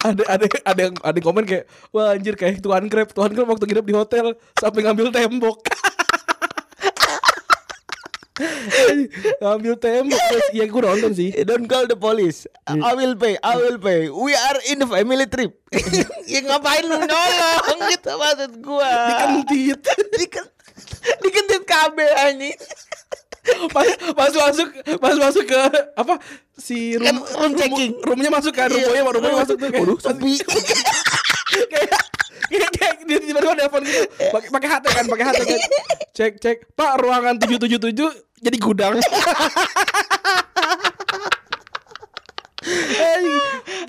Speaker 2: ada ada ada yang ada yang komen kayak wah anjir kayak Tuhan Crab Tuhan Crab waktu nginep di hotel sampai ngambil tembok ngambil tembok guys. ya gue nonton sih
Speaker 3: Eh, Don't call the police. I will pay. I will pay. We are in the family trip. ya ngapain lu nolong gitu maksud gua.
Speaker 2: kentit
Speaker 3: Diken- Dikentit kabel anjing.
Speaker 2: pas pas masuk pas masuk ke apa si room
Speaker 3: Kan room checking.
Speaker 2: roomnya masuk kan rumahnya rumahnya masuk tuh kayak-
Speaker 3: Iya. Waduh, sepi.
Speaker 2: kayak kayak kayak dia tiba-tiba nelfon gitu pakai pakai HT kan pakai HT kan cek cek pak ruangan 777 jadi gudang Eh,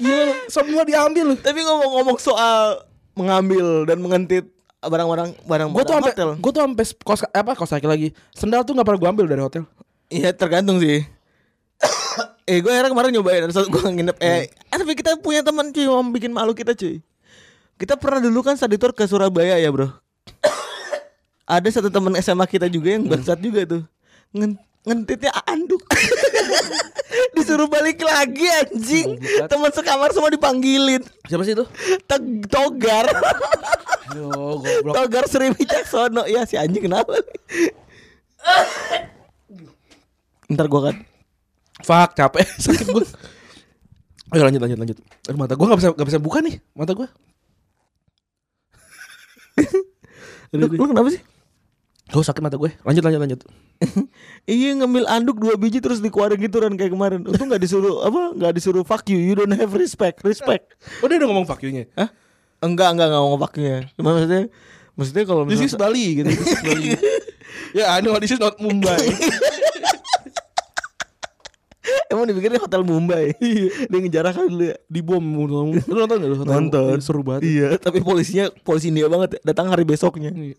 Speaker 2: gila semua diambil loh
Speaker 3: Tapi ngomong-ngomong soal mengambil dan mengentit barang-barang barang
Speaker 2: gue tuh sampai
Speaker 3: hotel.
Speaker 2: gue tuh sampai kos apa kos kaki lagi sendal tuh nggak pernah gue ambil dari hotel
Speaker 3: Iya tergantung sih. eh gue akhirnya kemarin nyobain ada satu gue nginep eh eh, tapi kita punya teman cuy yang bikin malu kita cuy. Kita pernah dulu kan study tour ke Surabaya ya bro. ada satu teman SMA kita juga yang bangsat juga tuh. Ngen- ngentitnya anduk. Disuruh balik lagi anjing. Teman sekamar semua dipanggilin.
Speaker 2: siapa sih itu
Speaker 3: Teg- togar.
Speaker 2: Yo, goblok.
Speaker 3: togar Sri Wicaksono. Ya si anjing kenapa? nih? Ntar gue kan
Speaker 2: Fuck, capek. Sakit gue. Ayo lanjut lanjut lanjut. Aduh, mata gue nggak bisa nggak bisa buka nih mata gue.
Speaker 3: Lu, lu kenapa sih?
Speaker 2: Gue Oh, sakit mata gue. Lanjut lanjut lanjut.
Speaker 3: Iya ngambil anduk dua biji terus dikeluarin gitu kan kayak kemarin. Untung nggak disuruh apa? Nggak disuruh fuck you. You don't have respect. Respect.
Speaker 2: Oh dia udah ngomong fuck you-nya.
Speaker 3: Hah? Enggak enggak enggak ngomong fuck you-nya. Cuma maksudnya maksudnya kalau
Speaker 2: This is
Speaker 3: misalnya
Speaker 2: Bali gitu. This is Bali. Ya, I know this is not Mumbai.
Speaker 3: emang dipikirnya hotel Mumbai. Dia ngejarah kan dulu ya.
Speaker 2: Di bom lu nonton gak lu?
Speaker 3: Nonton.
Speaker 2: Seru banget.
Speaker 3: Iya, tapi polisinya polisi India banget ya. datang hari besoknya.
Speaker 2: Iya.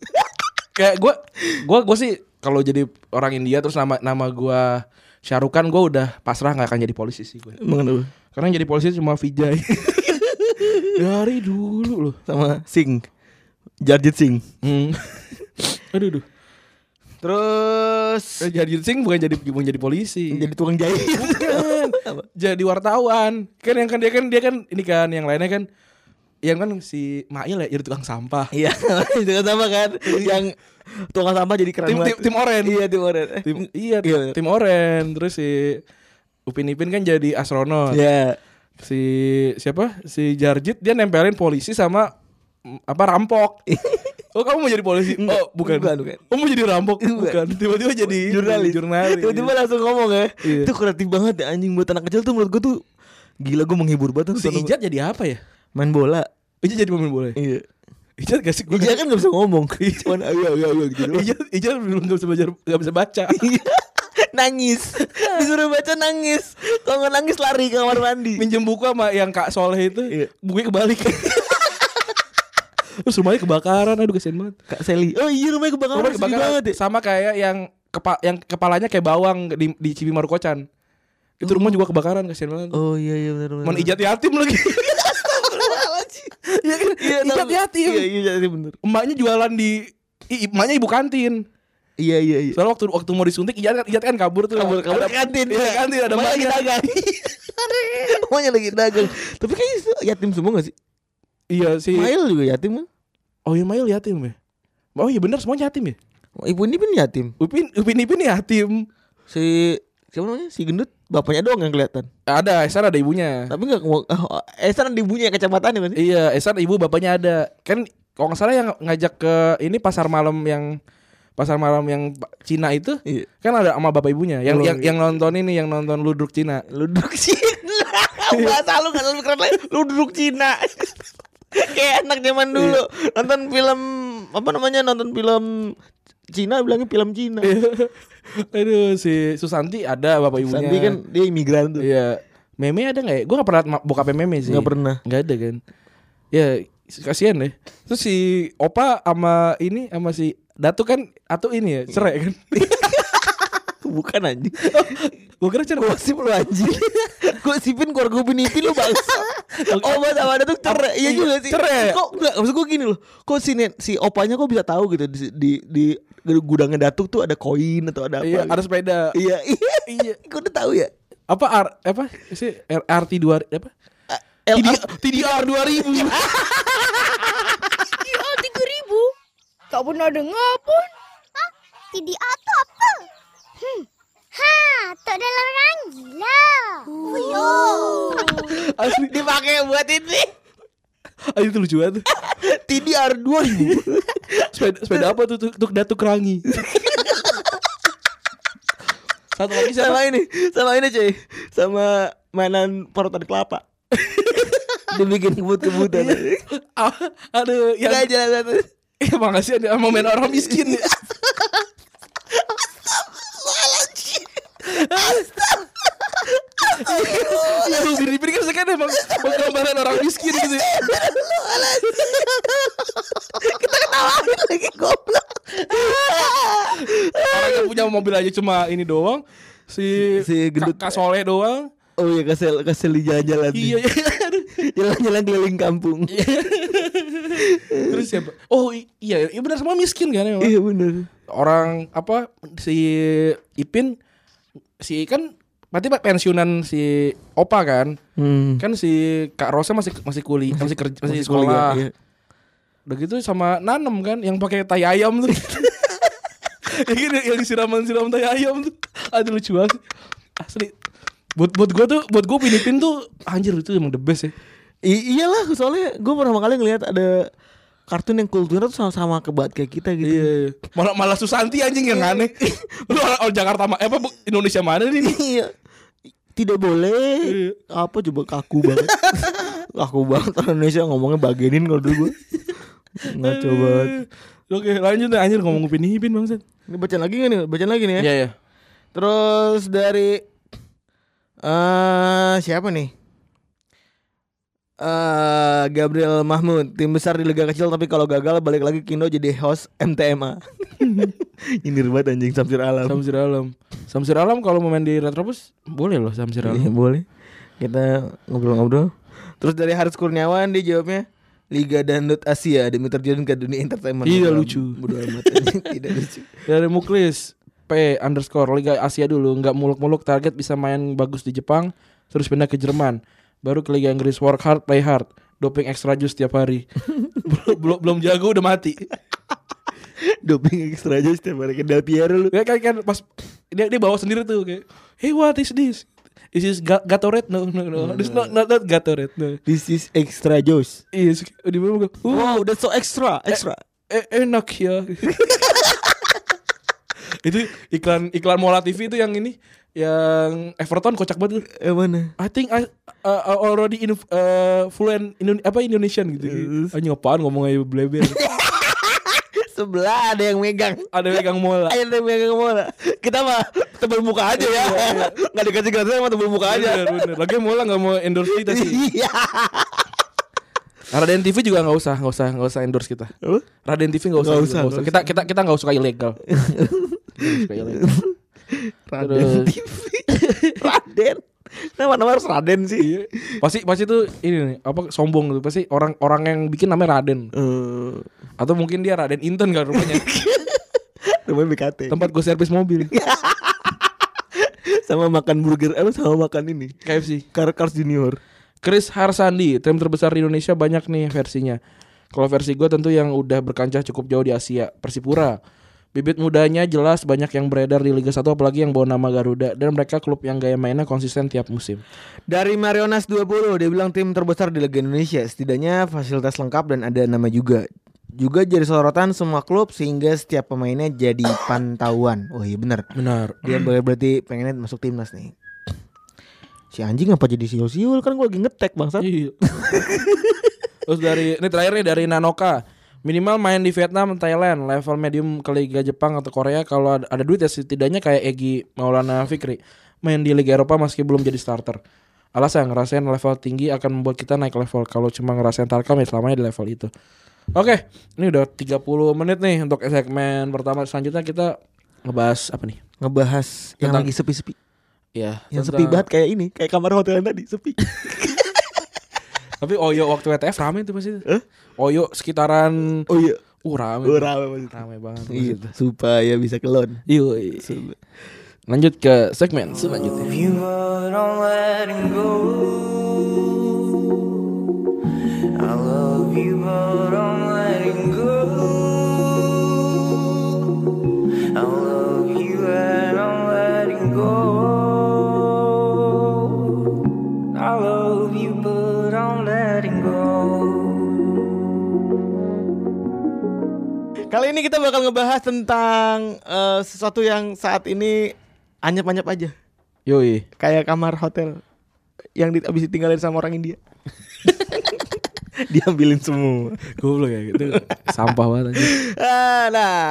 Speaker 2: Kayak gue gue gue sih kalau jadi orang India terus nama nama gue Syarukan gue udah pasrah nggak akan jadi polisi sih gue.
Speaker 3: Emang kenapa?
Speaker 2: Karena yang jadi polisi cuma Vijay.
Speaker 3: Ya,
Speaker 2: Dari dulu loh.
Speaker 3: Sama Singh. Jarjit Singh.
Speaker 2: Hmm. aduh aduh.
Speaker 3: Terus
Speaker 2: Eh, Jadi Singh bukan jadi bukan jadi polisi.
Speaker 3: jadi tukang jahit.
Speaker 2: Bukan. jadi wartawan kan yang kan dia kan dia kan ini kan yang lainnya kan yang kan si Mail ya jadi tukang sampah
Speaker 3: Iya, itu sama kan yang tukang sampah jadi keren
Speaker 2: tim tim,
Speaker 3: banget.
Speaker 2: tim oren
Speaker 3: Iya, tim oren. Eh,
Speaker 2: tim iya
Speaker 3: Iya, bener.
Speaker 2: tim oren terus si Upin Ipin kan jadi astronot
Speaker 3: Iya.
Speaker 2: si siapa si Jarjit dia nempelin polisi sama mm, apa rampok oh kamu mau jadi polisi
Speaker 3: Enggak,
Speaker 2: oh bukan
Speaker 3: bukan, bukan.
Speaker 2: oh mau jadi rampok bukan tiba-tiba jadi
Speaker 3: jurnalis.
Speaker 2: jurnalis
Speaker 3: Tiba-tiba langsung ngomong ya.
Speaker 2: Iya.
Speaker 3: Itu kreatif banget ya anjing buat anak kecil tuh menurut gua tuh gila gua menghibur banget
Speaker 2: si
Speaker 3: tuh nonton-
Speaker 2: Ijat jadi apa ya
Speaker 3: main bola.
Speaker 2: Ijat jadi pemain bola ya?
Speaker 3: Iya.
Speaker 2: Ijat gak sih Gua-
Speaker 3: Ija kan gak bisa ngomong Cuman ayo ayo ayo gitu doang.
Speaker 2: Ijat Ijat belum nggak bisa belajar nggak bisa baca
Speaker 3: Iya. Nangis Disuruh baca nangis Kalau nggak nangis lari ke kamar mandi
Speaker 2: minjem buku sama yang Kak Soleh itu
Speaker 3: Iya.
Speaker 2: bukunya kebalik terus rumahnya kebakaran aduh kasihan banget
Speaker 3: Kak Seli Oh iya rumahnya kebakaran
Speaker 2: Rumahnya
Speaker 3: sedih
Speaker 2: kebakaran
Speaker 3: banget ya
Speaker 2: sama kayak yang kepa- yang kepalanya kayak bawang di, di Cibimar Kocan itu rumah juga kebakaran kasihan banget
Speaker 3: Oh iya iya benar benar.
Speaker 2: Mau ijat yatim lagi
Speaker 3: Iya kan? Iya,
Speaker 2: Ijat
Speaker 3: tahu.
Speaker 2: yatim.
Speaker 3: Iya iya ijat yatim bener.
Speaker 2: Emaknya jualan di i- Emaknya ibu kantin
Speaker 3: Iya iya iya.
Speaker 2: Soalnya waktu waktu mau disuntik Ijat kan, ijat kan kabur tuh
Speaker 3: Kabur kabur
Speaker 2: Ada-
Speaker 3: ke kantin.
Speaker 2: Iya kantin ada
Speaker 3: Emaknya lagi
Speaker 2: emaknya
Speaker 3: dagang. Emaknya kan lagi dagang. Tapi kayaknya itu yatim semua gak sih?
Speaker 2: Iya si
Speaker 3: Mail juga yatim kan?
Speaker 2: Oh iya Mail yatim ya Oh iya benar semuanya yatim ya
Speaker 3: Ibu ini pun yatim.
Speaker 2: Upin Upin Ipin yatim
Speaker 3: Si siapa namanya? Si gendut bapaknya doang yang kelihatan.
Speaker 2: Ada Esan ada ibunya
Speaker 3: Tapi enggak oh, Esan di ibunya kecamatan ya kan?
Speaker 2: Iya, Esan ibu bapaknya ada. Kan kalau nggak salah yang ngajak ke ini pasar malam yang pasar malam yang Cina itu
Speaker 3: Iya.
Speaker 2: kan ada sama bapak ibunya yang
Speaker 3: Oh,
Speaker 2: yang,
Speaker 3: iya.
Speaker 2: yang nonton ini yang nonton ludruk Cina.
Speaker 3: Ludruk Cina. Bahasa lu kan lebih keren lagi. Ludruk Cina. Kayak anak zaman dulu nonton film apa namanya? Nonton film Cina bilangnya film Cina.
Speaker 2: Iya. Aduh si Susanti ada bapak ibunya.
Speaker 3: Santi kan dia imigran tuh.
Speaker 2: Iya. Meme ada nggak ya? Gue nggak pernah ma- bokapnya meme sih.
Speaker 3: Nggak pernah.
Speaker 2: Nggak ada kan. Ya kasihan deh. Terus si Opa sama ini sama si Datu kan atau ini ya cerai kan?
Speaker 3: Bukan anjing.
Speaker 2: Gue kira cerai.
Speaker 3: Gosip lu anjing. Gosipin keluarga gue binitin lu bangsa. Obat sama ada tuh cerai. Iya juga sih.
Speaker 2: Cerai.
Speaker 3: Kok enggak maksud gue gini loh. Kok si nen- si opanya kok bisa tahu gitu di di, di gudangnya Datuk tuh ada koin atau ada apa.
Speaker 2: Iya,
Speaker 3: gitu.
Speaker 2: ada sepeda.
Speaker 3: Iya, iya.
Speaker 2: Iya.
Speaker 3: Gue udah tahu ya.
Speaker 2: apa R, apa sih R- RT dua apa
Speaker 3: L-
Speaker 2: TD TDR dua ribu
Speaker 4: TDA tiga ribu? Tak pernah dengar pun.
Speaker 5: Hah? TDR tu apa? Hmm. Ha, tok dalam rangi lah. Oh,
Speaker 2: asli
Speaker 3: dipakai buat ini.
Speaker 2: asli itu lucu banget
Speaker 3: TDR 2000.
Speaker 2: sepeda sepeda apa tuh tuh, tuh datu kerangi satu lagi
Speaker 3: sama
Speaker 2: siapa
Speaker 3: ini, sama ini cuy. Sama mainan parutan kelapa. Iya. Dibikin kebut-kebutan.
Speaker 2: Ah, aduh yang
Speaker 3: Enggak jalan satu.
Speaker 2: ya makasih ada mau main orang miskin ya. Iya, Bang Biri Biri kan sekarang emang penggambaran orang miskin gitu ya.
Speaker 3: Ketawain lagi Eh, goblok.
Speaker 2: Orang yang punya mobil aja cuma ini doang Si,
Speaker 3: Si gendut.
Speaker 2: Kak Kak Soleh doang
Speaker 3: Oh iya kesel kesel di jalan-jalan.
Speaker 2: Iya,
Speaker 3: nih.
Speaker 2: iya. Aduh.
Speaker 3: Jalan-jalan keliling kampung.
Speaker 2: Terus siapa? Oh i- iya, iya benar semua miskin kan emang.
Speaker 3: iya bener.
Speaker 2: Orang apa si Ipin si kan berarti pak pensiunan si Opa kan?
Speaker 3: Hmm.
Speaker 2: Kan si Kak Rosa masih masih kuliah, masih kerja, masih,
Speaker 3: Masih
Speaker 2: sekolah.
Speaker 3: kuliah, iya.
Speaker 2: Udah gitu sama Nanem kan yang pakai tai ayam tuh. yang, gini, yang disiram-siram tai ayam tuh. Aduh lucu banget. Asli. Buat buat gue tuh, buat gue Ipin tuh anjir itu emang the best ya.
Speaker 3: I- iyalah soalnya gue pertama kali ngelihat ada kartun yang kulturnya tuh sama-sama kebat kayak kita gitu.
Speaker 2: Iya, iya. Malah malah Susanti anjing yang aneh. Lu orang, orang Jakarta ma- eh, apa bu- Indonesia mana nih?
Speaker 3: Iya. Tidak boleh.
Speaker 2: Iya.
Speaker 3: Apa coba kaku banget. kaku banget orang Indonesia ngomongnya bagenin kalau dulu gue. Ngaco banget.
Speaker 2: Oke, lanjut deh anjir ngomong Upin Ipin Bang
Speaker 3: Ini bacaan lagi gak nih? Bacaan lagi nih ya.
Speaker 2: iya.
Speaker 3: Terus dari eh siapa nih? Eh Gabriel Mahmud, tim besar di liga kecil tapi kalau gagal balik lagi ke Indo jadi host MTMA. Nyindir banget anjing Samsir Alam.
Speaker 2: Samsir Alam. Samsir Alam kalau mau main di Retropus boleh loh Samsir
Speaker 3: Iya,
Speaker 2: Alam.
Speaker 3: boleh. Kita ngobrol-ngobrol. Terus dari Haris Kurniawan dia jawabnya Liga Dangdut Asia demi terjun ke dunia entertainment.
Speaker 2: Iya,
Speaker 3: Bodoh am-
Speaker 2: lucu.
Speaker 3: Bodoh amat anjing, tidak lucu.
Speaker 2: Dari Muklis LP underscore Liga Asia dulu nggak muluk-muluk target bisa main bagus di Jepang terus pindah ke Jerman baru ke Liga Inggris work hard play hard doping extra jus tiap hari belum belum belum jago udah mati
Speaker 3: Doping ekstra aja setiap hari ke Del Piero lu.
Speaker 2: ya kan kan pas dia dia bawa sendiri tuh kayak hey what is this is this Ga- Gatorade no no no this not not, not Gatorade no
Speaker 3: This is extra juice.
Speaker 2: is di bawah gua, "Uh,
Speaker 3: Wow, that's so extra, extra.
Speaker 2: eh, enak ya itu iklan iklan Mola TV itu yang ini yang Everton kocak banget tuh.
Speaker 3: Eh, mana?
Speaker 2: I think I uh, uh, already in, uh, fluent Indo- apa Indonesian gitu.
Speaker 3: Yes.
Speaker 2: Anjing apaan ngomong aja bleber.
Speaker 3: Sebelah ada yang megang.
Speaker 2: Ada megang Mola.
Speaker 3: Ada yang megang mana? Kita mah tebel muka aja ya. Enggak dikasih gratis sama tebel muka aja.
Speaker 2: Bener, bener. Lagi Mola nggak mau endorse kita sih.
Speaker 3: Iya.
Speaker 2: Raden TV juga nggak usah, nggak usah, nggak usah endorse kita.
Speaker 3: Apa?
Speaker 2: Raden TV nggak usah,
Speaker 3: Nggak
Speaker 2: nggak
Speaker 3: usah,
Speaker 2: usah,
Speaker 3: nggak
Speaker 2: Kita kita kita nggak suka ilegal. Kita nggak suka ilegal.
Speaker 3: Raden
Speaker 2: Terus-
Speaker 3: TV. Raden. Nama-nama harus Raden sih.
Speaker 2: Pasti pasti tuh ini nih, apa sombong tuh pasti orang orang yang bikin namanya Raden
Speaker 3: Eh,
Speaker 2: atau mungkin dia Raden Inten kan rumahnya
Speaker 3: Rumah BKT.
Speaker 2: tempat gue servis mobil
Speaker 3: Sama makan burger, eh sama makan ini.
Speaker 2: KFC.
Speaker 3: Car Cars Junior.
Speaker 2: Chris Harsandi, tim terbesar di Indonesia banyak nih versinya. Kalau versi gue tentu yang udah berkancah cukup jauh di Asia, Persipura. Bibit mudanya jelas banyak yang beredar di Liga 1 apalagi yang bawa nama Garuda dan mereka klub yang gaya mainnya konsisten tiap musim.
Speaker 3: Dari Marionas 20 dia bilang tim terbesar di Liga Indonesia setidaknya fasilitas lengkap dan ada nama juga. Juga jadi sorotan semua klub sehingga setiap pemainnya jadi pantauan. Oh iya bener
Speaker 2: Benar.
Speaker 3: Dia ber- berarti pengennya masuk timnas nih. Si anjing apa jadi siul-siul kan gue lagi ngetek bangsat.
Speaker 2: Iya. Terus dari ini terakhir nih dari Nanoka. Minimal main di Vietnam, Thailand, level medium ke Liga Jepang atau Korea kalau ada, ada duit ya setidaknya kayak Egi Maulana Fikri main di Liga Eropa meski belum jadi starter. Alasan ngerasain level tinggi akan membuat kita naik level. Kalau cuma ngerasain Tarkam ya selamanya di level itu. Oke, ini udah 30 menit nih untuk segmen pertama. Selanjutnya kita ngebahas apa nih?
Speaker 3: Ngebahas yang
Speaker 2: Tentang-
Speaker 3: lagi sepi-sepi.
Speaker 2: Ya,
Speaker 3: Yang
Speaker 2: tentang-
Speaker 3: sepi banget kayak ini, kayak kamar hotel yang tadi sepi.
Speaker 2: Tapi Oyo waktu WTF rame tuh pasti. Oyo sekitaran
Speaker 3: Oh iya,
Speaker 2: uh rame.
Speaker 3: oh, rame Iya. banget.
Speaker 2: Rame banget.
Speaker 3: Iya, supaya bisa kelon.
Speaker 2: Yoi. Lanjut ke segmen selanjutnya.
Speaker 6: You were on letting go. I love you, but I'm letting go. I love you, and I'm letting go. I love you, but I'm letting go.
Speaker 3: Kali ini kita bakal ngebahas tentang eh, sesuatu yang saat ini anyap-anyap aja.
Speaker 2: Yoi.
Speaker 3: Kayak kamar hotel yang di, abis ditinggalin sama orang India. Diambilin semua.
Speaker 2: Goblok ya gitu. Sampah banget anjing.
Speaker 3: Ah, nah,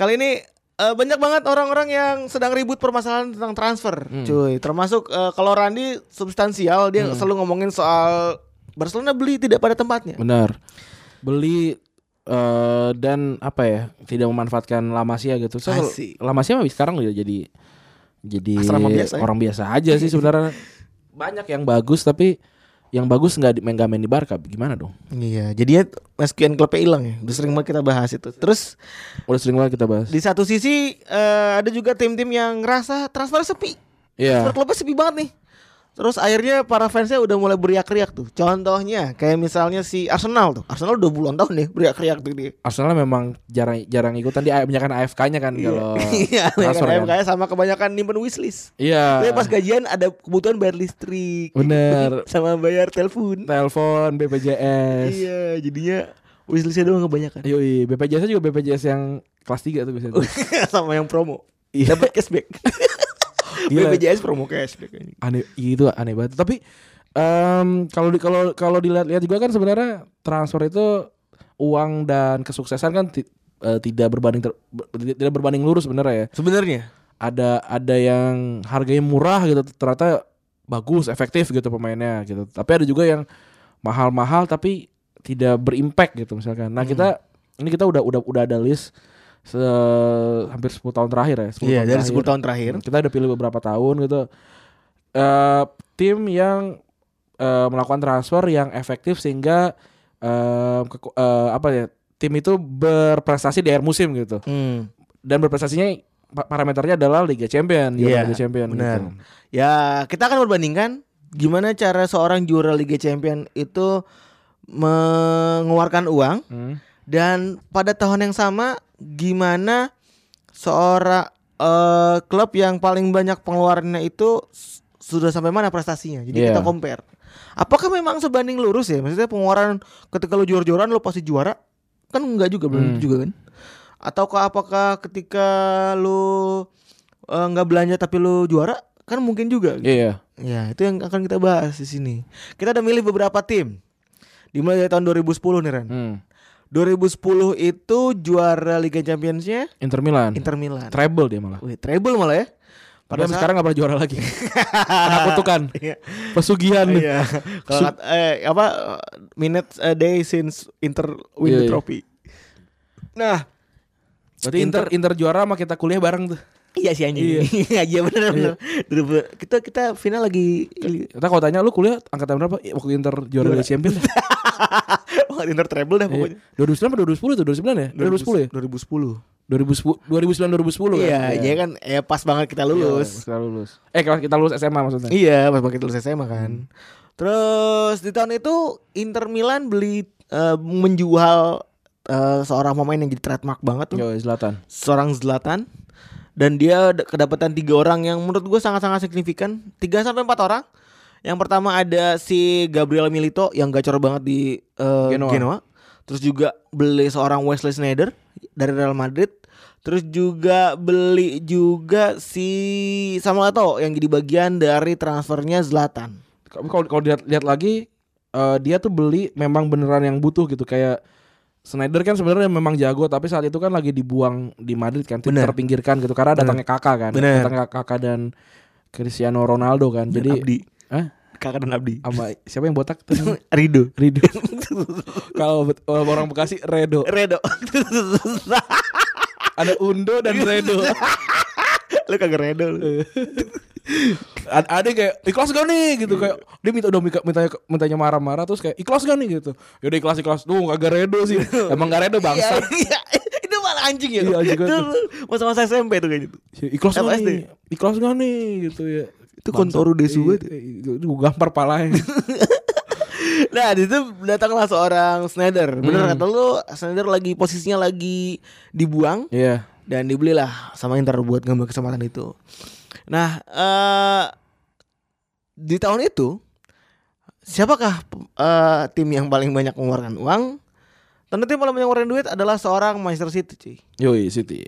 Speaker 3: kali ini eh, banyak banget orang-orang yang sedang ribut permasalahan tentang transfer, cuy. Termasuk eh, kalau Randi substansial dia selalu ngomongin soal Barcelona beli tidak pada tempatnya.
Speaker 2: Benar. Beli eh, dan apa ya? Tidak memanfaatkan La Masia gitu. So, kalau
Speaker 3: Asik.
Speaker 2: La Masia mah sekarang udah jadi jadi
Speaker 3: Asrama biasa ya.
Speaker 2: orang biasa aja sih sebenarnya. Banyak yang bagus tapi yang bagus nggak di- nggak main di Barca gimana dong?
Speaker 3: Iya, jadinya SQN klubnya hilang ya. Udah sering banget kita bahas itu. Terus
Speaker 2: Udah sering banget kita bahas.
Speaker 3: Di satu sisi eh, ada juga tim-tim yang ngerasa transfer sepi.
Speaker 2: Iya.
Speaker 3: Transfer klubnya sepi banget nih. Terus akhirnya para fansnya udah mulai beriak-riak tuh. Contohnya kayak misalnya si Arsenal tuh. Arsenal udah puluhan tahun nih beriak-riak tuh dia.
Speaker 2: Arsenal memang jarang jarang ikutan dia kebanyakan AFK-nya kan kalau
Speaker 3: Iya,
Speaker 2: transfer kan.
Speaker 3: kayak sama kebanyakan nyimpen wishlist.
Speaker 2: Iya.
Speaker 3: Tapi pas gajian ada kebutuhan bayar listrik.
Speaker 2: Bener.
Speaker 3: sama bayar telepon.
Speaker 2: Telepon BPJS.
Speaker 3: Iya, jadinya wishlistnya doang kebanyakan.
Speaker 2: Yoi, BPJS juga BPJS yang kelas 3 tuh biasanya. tuh.
Speaker 3: sama yang promo.
Speaker 2: Iya.
Speaker 3: Dapat cashback.
Speaker 2: Gila.
Speaker 3: BPJS promo cashback ini.
Speaker 2: aneh itu aneh banget. Tapi em, kalau di kalau kalau dilihat-lihat juga kan sebenarnya transfer itu uang dan kesuksesan kan ti- eh, tidak berbanding ter- ber- tidak berbanding lurus sebenarnya ya.
Speaker 3: Sebenarnya
Speaker 2: Ada ada yang harganya murah gitu ternyata bagus, efektif gitu pemainnya gitu. Tapi ada juga yang mahal-mahal tapi tidak berimpact gitu misalkan.
Speaker 3: Hmm.
Speaker 2: Nah, kita ini kita udah udah udah ada list se hampir 10 tahun terakhir ya, 10 tahun
Speaker 3: Iya dari
Speaker 2: terakhir.
Speaker 3: 10 tahun terakhir
Speaker 2: Hmm, Kita udah pilih beberapa tahun gitu. Eh tim yang eh, melakukan transfer yang efektif sehingga eh, keku- eh, apa ya tim itu berprestasi di akhir musim gitu
Speaker 3: Hmm.
Speaker 2: dan berprestasinya pa- parameternya adalah Liga Champion, juara
Speaker 3: Iya,
Speaker 2: Liga Champion.
Speaker 3: benar.
Speaker 2: gitu.
Speaker 3: Ya, kita akan perbandingkan gimana cara seorang juara Liga Champion itu mengeluarkan uang
Speaker 2: Hmm.
Speaker 3: dan pada tahun yang sama gimana seorang eh, klub yang paling banyak pengeluarannya itu s- sudah sampai mana prestasinya. Jadi
Speaker 2: Iya.
Speaker 3: kita compare. Apakah memang sebanding lurus ya? Maksudnya pengeluaran ketika lu juara-juaraan lu pasti juara? Kan enggak juga
Speaker 2: Hmm.
Speaker 3: belum juga kan? Ataukah apakah ketika lu eh, nggak belanja tapi lu juara? Kan mungkin juga.
Speaker 2: Iya, iya.
Speaker 3: Ya, itu yang akan kita bahas di sini. Kita ada milih beberapa tim. Dimulai dari tahun 2010 nih Ren.
Speaker 2: Hmm.
Speaker 3: 2010 itu juara Liga Champions-nya
Speaker 2: Inter Milan.
Speaker 3: Inter Milan.
Speaker 2: Treble dia malah.
Speaker 3: Wih, treble malah ya.
Speaker 2: Padahal
Speaker 3: Pada saat-
Speaker 2: sekarang gak pernah juara lagi. Anak kutukan.
Speaker 3: Iya.
Speaker 2: Pesugihan.
Speaker 3: Iya. Kalau kata- eh, apa eh, minutes a day since Inter win
Speaker 2: Iya,
Speaker 3: the
Speaker 2: iya.
Speaker 3: trophy. Nah,
Speaker 2: Berarti Inter Inter juara sama kita kuliah bareng tuh.
Speaker 3: iya sih anjing. Iya, benar benar. Kita kita final lagi
Speaker 2: Kita kalau tanya lu kuliah angkatan berapa? "Eh, Waktu Inter juara Liga Iya. Champions.
Speaker 3: Wah, Inter treble dah pokoknya.
Speaker 2: 2009 atau 2010 tuh? 2009 ya? 2010 ya?
Speaker 3: 2010.
Speaker 2: 2010 2009 2010
Speaker 3: Iya,
Speaker 2: kan?
Speaker 3: iya kan eh pas banget kita lulus.
Speaker 2: Kita lulus. Eh kalau kita lulus SMA maksudnya.
Speaker 3: Iya, pas banget kita lulus SMA kan. Terus di tahun itu Inter Milan beli eh, menjual eh, seorang pemain yang jadi trademark banget tuh,
Speaker 2: Yo, Zlatan.
Speaker 3: seorang Zlatan. Dan dia d- kedapatan tiga orang yang menurut gue sangat-sangat signifikan, tiga sampai empat orang. Yang pertama ada si Gabriel Milito yang gacor banget di eh,
Speaker 2: Genoa.
Speaker 3: Genoa. Terus juga beli seorang Wesley Sneijder dari Real Madrid. Terus juga beli juga si Samuel Eto'o yang jadi bagian dari transfernya Zlatan.
Speaker 2: Tapi kalau kalau lihat lihat lagi eh, dia tuh beli memang beneran yang butuh gitu kayak Snyder kan sebenarnya memang jago tapi saat itu kan lagi dibuang di Madrid kan
Speaker 3: Bener.
Speaker 2: terpinggirkan gitu karena datangnya kakak kan
Speaker 3: Bener.
Speaker 2: datangnya kakak dan Cristiano Ronaldo kan
Speaker 3: Dan
Speaker 2: jadi
Speaker 3: Abdi.
Speaker 2: Hah?
Speaker 3: Kakak dan Abdi.
Speaker 2: sama siapa yang botak tuh?
Speaker 3: Rido.
Speaker 2: Rido kalau bet- orang Bekasi Redo
Speaker 3: Redo.
Speaker 2: ada Undo dan Redo
Speaker 3: lu kagak Redo lu.
Speaker 2: ada, ada yang kayak ikhlas gak nih gitu kayak dia minta udah minta mintanya mintanya marah-marah terus kayak ikhlas gak nih gitu yaudah ikhlas ikhlas tuh kagak redo sih emang gak redo bangsa
Speaker 3: Iya, iya. Itu malah anjing ya.
Speaker 2: Iya, anjing
Speaker 3: itu
Speaker 2: banget.
Speaker 3: masa-masa SMP tuh gitu. kayaknya tuh.
Speaker 2: Ya, ikhlas gak
Speaker 3: LSD.
Speaker 2: nih ikhlas gak nih gitu ya
Speaker 3: Itu kontoru desu
Speaker 2: Iya,
Speaker 3: banget.
Speaker 2: iya, itu gue gampar palanya
Speaker 3: Nah, di situ datanglah seorang Snyder.
Speaker 2: Hmm.
Speaker 3: Bener kata lu, Snyder lagi posisinya lagi dibuang
Speaker 2: iya
Speaker 3: dan dibelilah sama Inter buat ngambil kesempatan itu. Nah, eh di tahun itu siapakah eh, tim yang paling banyak mengeluarkan uang? Tentu tim paling banyak mengeluarkan duit adalah seorang Manchester City, cuy.
Speaker 2: yoi City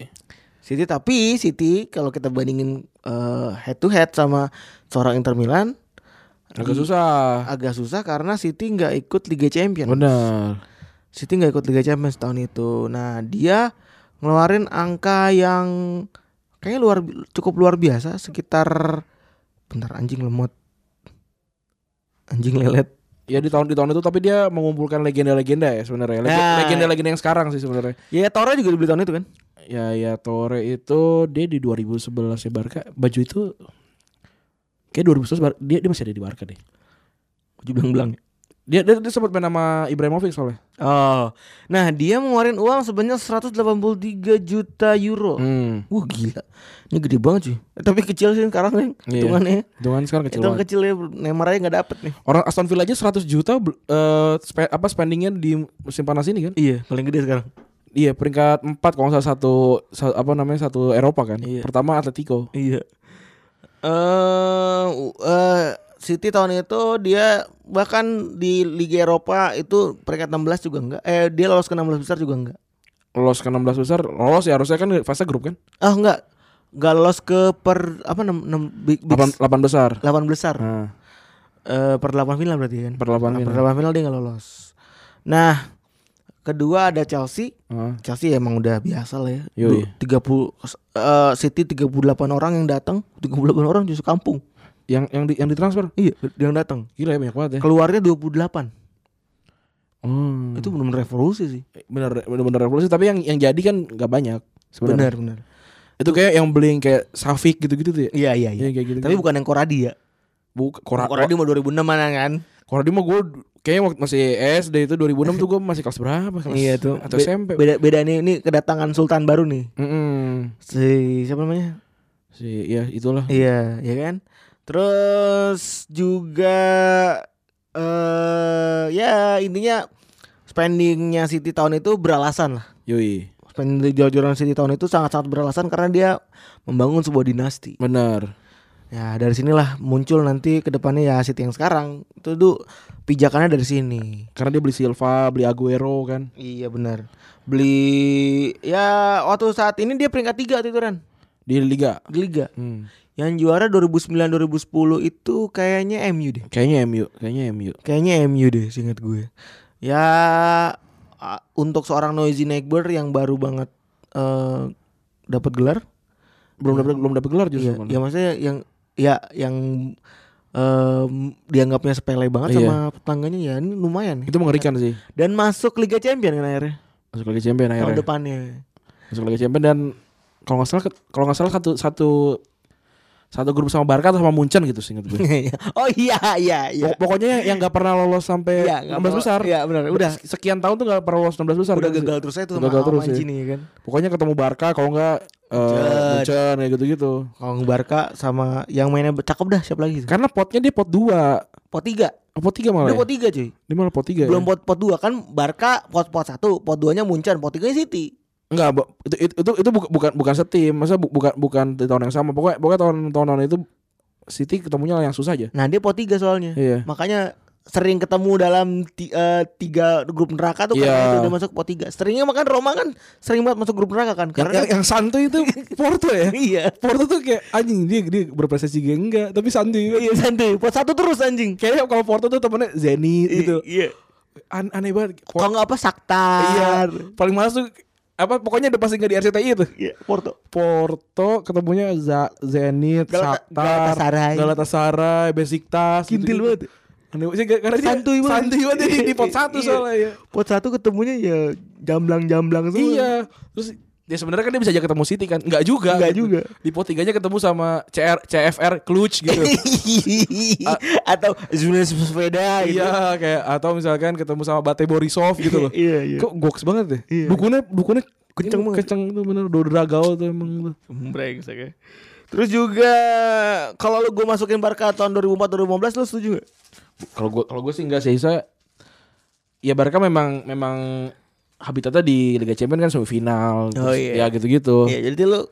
Speaker 3: City tapi City kalau kita bandingin eh, head to head sama seorang Inter Milan
Speaker 2: agak susah
Speaker 3: agak susah karena City nggak ikut Liga Champions.
Speaker 2: bener
Speaker 3: City nggak ikut Liga Champions tahun itu. Nah dia ngeluarin angka yang kayaknya luar cukup luar biasa sekitar bentar anjing lemot anjing lelet
Speaker 2: ya di tahun di tahun itu tapi dia mengumpulkan legenda-legenda ya sebenarnya Lege-
Speaker 3: Nah.
Speaker 2: legenda-legenda yang sekarang sih sebenarnya
Speaker 3: ya Torre juga dibeli tahun itu kan
Speaker 2: ya ya Torre itu dia di 2011 ya Barca baju itu kayak 2011 Bar- dia dia masih ada di Barca deh
Speaker 3: baju belang belang
Speaker 2: dia dia, dia sempat main sama Ibrahimovic soalnya
Speaker 3: oh nah dia ngeluarin uang sebanyak 183 juta euro
Speaker 2: hmm.
Speaker 3: Wah gila Ini gede banget cuy Eh, Tapi kecil sih sekarang nih
Speaker 2: Iya.
Speaker 3: Hitungannya
Speaker 2: Dengan sekarang kecil
Speaker 3: Hitungan
Speaker 2: banget.
Speaker 3: kecil ya Neymar aja gak dapet nih
Speaker 2: Orang Aston Villa aja 100 juta bel- eh, spe- apa spendingnya di musim panas ini kan?
Speaker 3: Iya paling gede sekarang
Speaker 2: Iya peringkat 4 kalau nggak salah satu, sa- apa namanya satu Eropa kan.
Speaker 3: Iya.
Speaker 2: Pertama Atletico.
Speaker 3: Iya Eh u- eh, City tahun itu dia bahkan di Liga Eropa itu peringkat 16 juga enggak Eh dia lolos ke 16 besar juga enggak
Speaker 2: Lolos ke 16 besar, lolos ya harusnya kan fase grup kan?
Speaker 3: Ah enggak Enggak lolos ke per apa 6, 6 big, big
Speaker 2: 8, 8 besar.
Speaker 3: 8 besar
Speaker 2: Nah,
Speaker 3: Eh, per delapan final berarti kan
Speaker 2: Per delapan final.
Speaker 3: Per delapan final dia nggak lolos nah kedua ada Chelsea
Speaker 2: Heeh.
Speaker 3: Chelsea emang udah biasa lah ya.
Speaker 2: Yoi.
Speaker 3: Tiga puluh eh, City 38 orang yang datang, 38 orang justru kampung.
Speaker 2: yang yang di yang ditransfer
Speaker 3: Iya, yang datang.
Speaker 2: gila ya banyak banget ya.
Speaker 3: Keluarnya 28.
Speaker 2: Hmm.
Speaker 3: Itu benar revolusi sih.
Speaker 2: bener bener bener revolusi tapi yang yang jadi kan nggak banyak sebenarnya.
Speaker 3: Benar, benar.
Speaker 2: Itu kayak yang beli yang kayak Safik gitu-gitu tuh ya.
Speaker 3: Iya, iya,
Speaker 2: Iya, kayak gitu.
Speaker 3: Tapi bukan yang Koradi ya.
Speaker 2: bukan Kora,
Speaker 3: Koradi mah 2006 an kan.
Speaker 2: Koradi mah gue Kayaknya waktu masih SD itu 2006 tuh gue masih kelas berapa? Kelas
Speaker 3: Iya tuh.
Speaker 2: atau
Speaker 3: Be-
Speaker 2: SMP.
Speaker 3: Beda beda nih ini kedatangan sultan baru nih. Hmm.
Speaker 2: Mm-mm.
Speaker 3: Si siapa namanya?
Speaker 2: Si ya itulah.
Speaker 3: Iya, ya kan? Terus juga eh ya intinya spendingnya City tahun itu beralasan lah.
Speaker 2: Yoi.
Speaker 3: Spending jor-joran City tahun itu sangat-sangat beralasan karena dia membangun sebuah dinasti.
Speaker 2: Benar.
Speaker 3: Ya, dari sinilah muncul nanti ke depannya ya City yang sekarang. Itu tuh pijakannya dari sini.
Speaker 2: Karena dia beli Silva, beli Aguero kan.
Speaker 3: Iya benar. Beli ya waktu saat ini dia peringkat tiga tuh Ren
Speaker 2: Di liga.
Speaker 3: di liga.
Speaker 2: Hmm.
Speaker 3: Yang juara 2009-2010 itu kayaknya MU deh.
Speaker 2: Kayaknya MU, kayaknya MU.
Speaker 3: Kayaknya MU deh, singkat gue. Ya a- untuk seorang noisy neighbor yang baru banget eh dapat gelar,
Speaker 2: Belum dapat belum dapat gelar justru.
Speaker 3: ya,
Speaker 2: malah.
Speaker 3: ya maksudnya yang ya yang em, dianggapnya sepele banget
Speaker 2: Iya.
Speaker 3: sama tetangganya ya ini lumayan nih.
Speaker 2: Itu mengerikan sih.
Speaker 3: Dan masuk Liga Champion kan akhirnya
Speaker 2: Masuk Liga Champion
Speaker 3: tahun
Speaker 2: akhirnya.
Speaker 3: depannya.
Speaker 2: Masuk Liga Champion dan kalau nggak salah ke- kalau nggak salah satu satu satu grup sama Barca atau sama Munchen gitu sih ingat gue.
Speaker 3: oh iya iya iya.
Speaker 2: Pok- Pokoknya yang nggak pernah lolos sampai
Speaker 3: Iya, nggak
Speaker 2: 16
Speaker 3: mau-
Speaker 2: Eh, besar.
Speaker 3: Iya benar, udah
Speaker 2: Sekian tahun tuh nggak pernah lolos 16 besar.
Speaker 3: udah
Speaker 2: kan sih?
Speaker 3: gagal terus aja tuh
Speaker 2: Gagal terus ya.
Speaker 3: Mancini ya kan.
Speaker 2: Pokoknya ketemu Barca kalau nggak eh, Munchen ya gitu-gitu.
Speaker 3: Kalau Barca sama yang mainnya cakep dah siapa lagi? tuh?
Speaker 2: Karena potnya dia pot 2.
Speaker 3: Pot 3.
Speaker 2: Pot 3 malah.
Speaker 3: Udah
Speaker 2: Ya?
Speaker 3: pot 3 cuy.
Speaker 2: Dia malah pot 3.
Speaker 3: Belum pot pot 2 kan Barca pot pot 1, pot 2-nya Munchen, pot 3-nya City.
Speaker 2: Enggak, bu- itu itu itu, itu buka- bukan bukan setim, masa bu- bukan bukan di tahun yang sama. Pokoknya pokoknya tahun tahun, tahun itu City ketemunya yang susah aja.
Speaker 3: Nah, dia pot 3 soalnya.
Speaker 2: Iya.
Speaker 3: Makanya sering ketemu dalam ti- eh, tiga grup neraka tuh
Speaker 2: Iya.
Speaker 3: karena itu udah masuk pot 3. Seringnya makan Roma kan sering banget masuk grup neraka kan
Speaker 2: Yang,
Speaker 3: karena
Speaker 2: yang, yang santuy itu Porto ya.
Speaker 3: iya.
Speaker 2: Porto tuh kayak anjing dia dia berprestasi juga enggak, tapi santuy.
Speaker 3: Iya santai. Pot 1 terus anjing.
Speaker 2: Kayaknya kalau Porto tuh temennya Zenit gitu.
Speaker 3: Iya.
Speaker 2: An- aneh banget. Por-
Speaker 3: Kalau nggak apa Saktar.
Speaker 2: iya. Paling males tuh apa pokoknya udah pasti enggak di RCTI itu.
Speaker 3: Iya, Porto.
Speaker 2: Porto ketemunya Za- Zenit,
Speaker 3: Galata-
Speaker 2: Shakhtar,
Speaker 3: Galatasaray.
Speaker 2: Galatasaray, Besiktas.
Speaker 3: Kintil
Speaker 2: gitu-gitu.
Speaker 3: banget.
Speaker 2: Aneh banget sih, karena dia
Speaker 3: Santuy banget.
Speaker 2: santuy banget dia di, di pot satu
Speaker 3: Iya.
Speaker 2: soalnya. ya.
Speaker 3: Pot 1 ketemunya ya jamblang-jamblang semua.
Speaker 2: Iya. Terus ya sebenarnya kan dia bisa aja ketemu City kan? Enggak juga.
Speaker 3: Nggak
Speaker 2: gitu.
Speaker 3: juga.
Speaker 2: Di pot tiganya ketemu sama CR, CFR Clutch gitu.
Speaker 3: Iya, atau Julius sepeda gitu.
Speaker 2: iya, kayak atau misalkan ketemu sama Bate Borisov gitu loh.
Speaker 3: Iya, iya.
Speaker 2: Kok goks banget deh.
Speaker 3: Iya.
Speaker 2: Bukunya bukunya
Speaker 3: Kenceng banget.
Speaker 2: Kenceng tuh bener Dodra gaul tuh emang tuh.
Speaker 3: Brengsek ya. Terus juga kalau lu gue masukin Barca tahun 2004 2015 lu setuju gak?
Speaker 2: Kalau gua kalau gua sih enggak sih saya ya Barca memang memang habitatnya di Liga Champions kan semifinal
Speaker 3: Oh,
Speaker 2: terus
Speaker 3: iya.
Speaker 2: ya gitu-gitu.
Speaker 3: Iya, jadi lu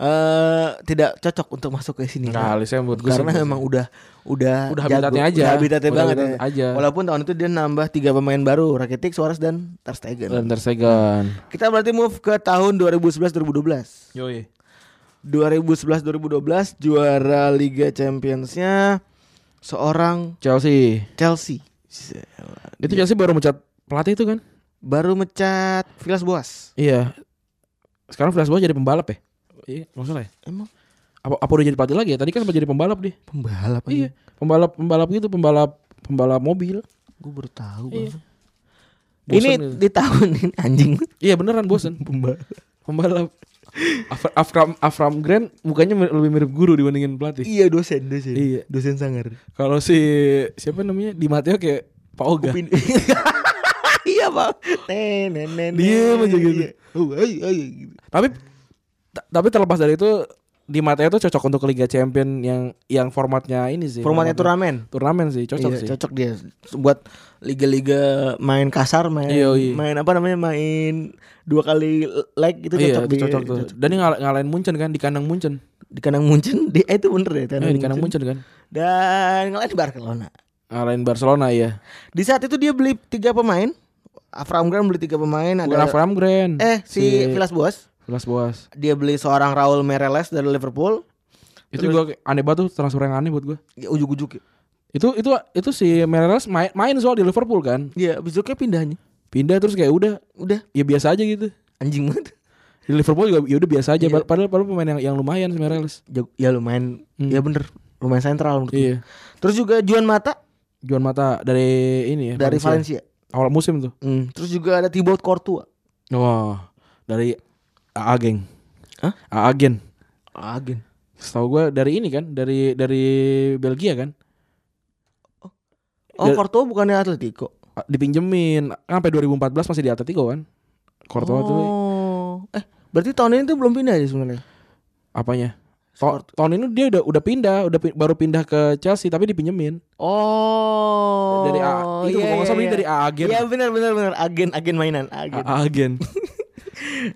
Speaker 3: eh tidak cocok untuk masuk ke sini.
Speaker 2: Enggak,
Speaker 3: Kan?
Speaker 2: Alisnya menurut gua sih
Speaker 3: Karena
Speaker 2: enggak sih.
Speaker 3: memang udah udah
Speaker 2: Udah
Speaker 3: jago.
Speaker 2: habitatnya aja.
Speaker 3: Udah habitatnya
Speaker 2: Udah
Speaker 3: banget
Speaker 2: habitat
Speaker 3: ya.
Speaker 2: aja.
Speaker 3: Walaupun tahun itu dia nambah tiga pemain baru, Rakitic, Suarez dan Ter Stegen.
Speaker 2: Dan Ter Stegen.
Speaker 3: Kita berarti move ke tahun 2011 2012. 2011 2012 juara Liga Champions-nya seorang
Speaker 2: Chelsea.
Speaker 3: Chelsea.
Speaker 2: Itu Chelsea baru mencat pelatih itu kan?
Speaker 3: Baru mecat Vilas Boas.
Speaker 2: Iya. Sekarang Flash Boy jadi pembalap ya? Iya, nggak salah ya.
Speaker 3: Emang
Speaker 2: Apa, apa udah jadi pelatih lagi ya? Tadi kan sempat jadi pembalap dia.
Speaker 3: pembalap
Speaker 2: Iya, pembalap pembalap gitu, pembalap pembalap mobil.
Speaker 3: Gue baru tahu.
Speaker 2: Iya.
Speaker 3: Bang.
Speaker 2: Bosen
Speaker 3: ini
Speaker 2: gitu.
Speaker 3: di tahun ini anjing.
Speaker 2: Iya beneran bosen pembalap. Pembalap. Af- Afram Afram Grant mukanya mir- lebih mirip guru dibandingin pelatih.
Speaker 3: iya dosen, dosen.
Speaker 2: Iya.
Speaker 3: Dosen sangar.
Speaker 2: Kalau si siapa namanya di Mateo kayak Pak Oga.
Speaker 3: Upin- iya, Bang. Tenenen.
Speaker 2: Diem aja gitu.
Speaker 3: Oh, ayo, ayo gitu.
Speaker 2: Tapi ta- tapi terlepas dari itu di Mateo tuh cocok untuk Liga Champion yang yang formatnya ini sih.
Speaker 3: Formatnya turnamen.
Speaker 2: turnamen sih cocok
Speaker 3: Iya,
Speaker 2: sih.
Speaker 3: cocok dia buat liga-liga main kasar, main
Speaker 2: Iya, iya.
Speaker 3: main apa namanya? Main dua kali leg itu
Speaker 2: Iya,
Speaker 3: cocok
Speaker 2: itu
Speaker 3: dia.
Speaker 2: cocok tuh. Dan dia ngal- ngalahin Munchen kan di kandang Munchen.
Speaker 3: Di kandang Munchen, di eh, itu bener ya,
Speaker 2: Eh, di kandang Munchen kan.
Speaker 3: Dan ngalahin Barcelona.
Speaker 2: Ngalahin Barcelona ya.
Speaker 3: Di saat itu dia beli tiga pemain. Avram Grant beli tiga
Speaker 2: Bukan
Speaker 3: pemain ada
Speaker 2: Avram Grant.
Speaker 3: eh si, Vilas Boas.
Speaker 2: Vilas Boas.
Speaker 3: Dia beli seorang Raul Meireles dari Liverpool.
Speaker 2: Itu juga aneh banget tuh transfer yang aneh buat gue.
Speaker 3: Ya, ujuk-ujuk. ya.
Speaker 2: Itu itu itu si Meireles main, main soal di Liverpool kan.
Speaker 3: Iya, abis itu kayak pindahnya.
Speaker 2: Pindah terus kayak udah
Speaker 3: Udah
Speaker 2: ya biasa aja gitu.
Speaker 3: anjing banget.
Speaker 2: Di Liverpool juga ya udah biasa aja.
Speaker 3: Iya.
Speaker 2: Padahal padahal pemain yang yang lumayan si Meireles.
Speaker 3: Jago- Ya lumayan,
Speaker 2: Hmm.
Speaker 3: ya bener. Lumayan sentral menurut gue.
Speaker 2: Iya.
Speaker 3: Terus juga Juan Mata
Speaker 2: Juan Mata dari ini ya.
Speaker 3: dari Valencia.
Speaker 2: Awal musim tuh.
Speaker 3: Hmm. Terus juga ada Thibaut Courtois.
Speaker 2: Wah. Dari AA Geng.
Speaker 3: Hah?
Speaker 2: AA Geng.
Speaker 3: Agen.
Speaker 2: Setahu gue dari ini kan, dari dari Belgia kan.
Speaker 3: Oh,
Speaker 2: Ya-
Speaker 3: Porto bukannya Atletico.
Speaker 2: dipinjemin sampai 2014 masih di Atletico kan Courtois tuh
Speaker 3: oh. Eh, berarti tahun ini tuh belum pindah ya sebenarnya.
Speaker 2: apanya To- tahun ini dia udah udah pindah udah pi- baru pindah ke Chelsea tapi dipinjemin
Speaker 3: Oh.
Speaker 2: Dari A- itu kalau nggak salah ini dari A agen. Ah,
Speaker 3: Iya, benar benar benar agen agen mainan, agen.
Speaker 2: A- agen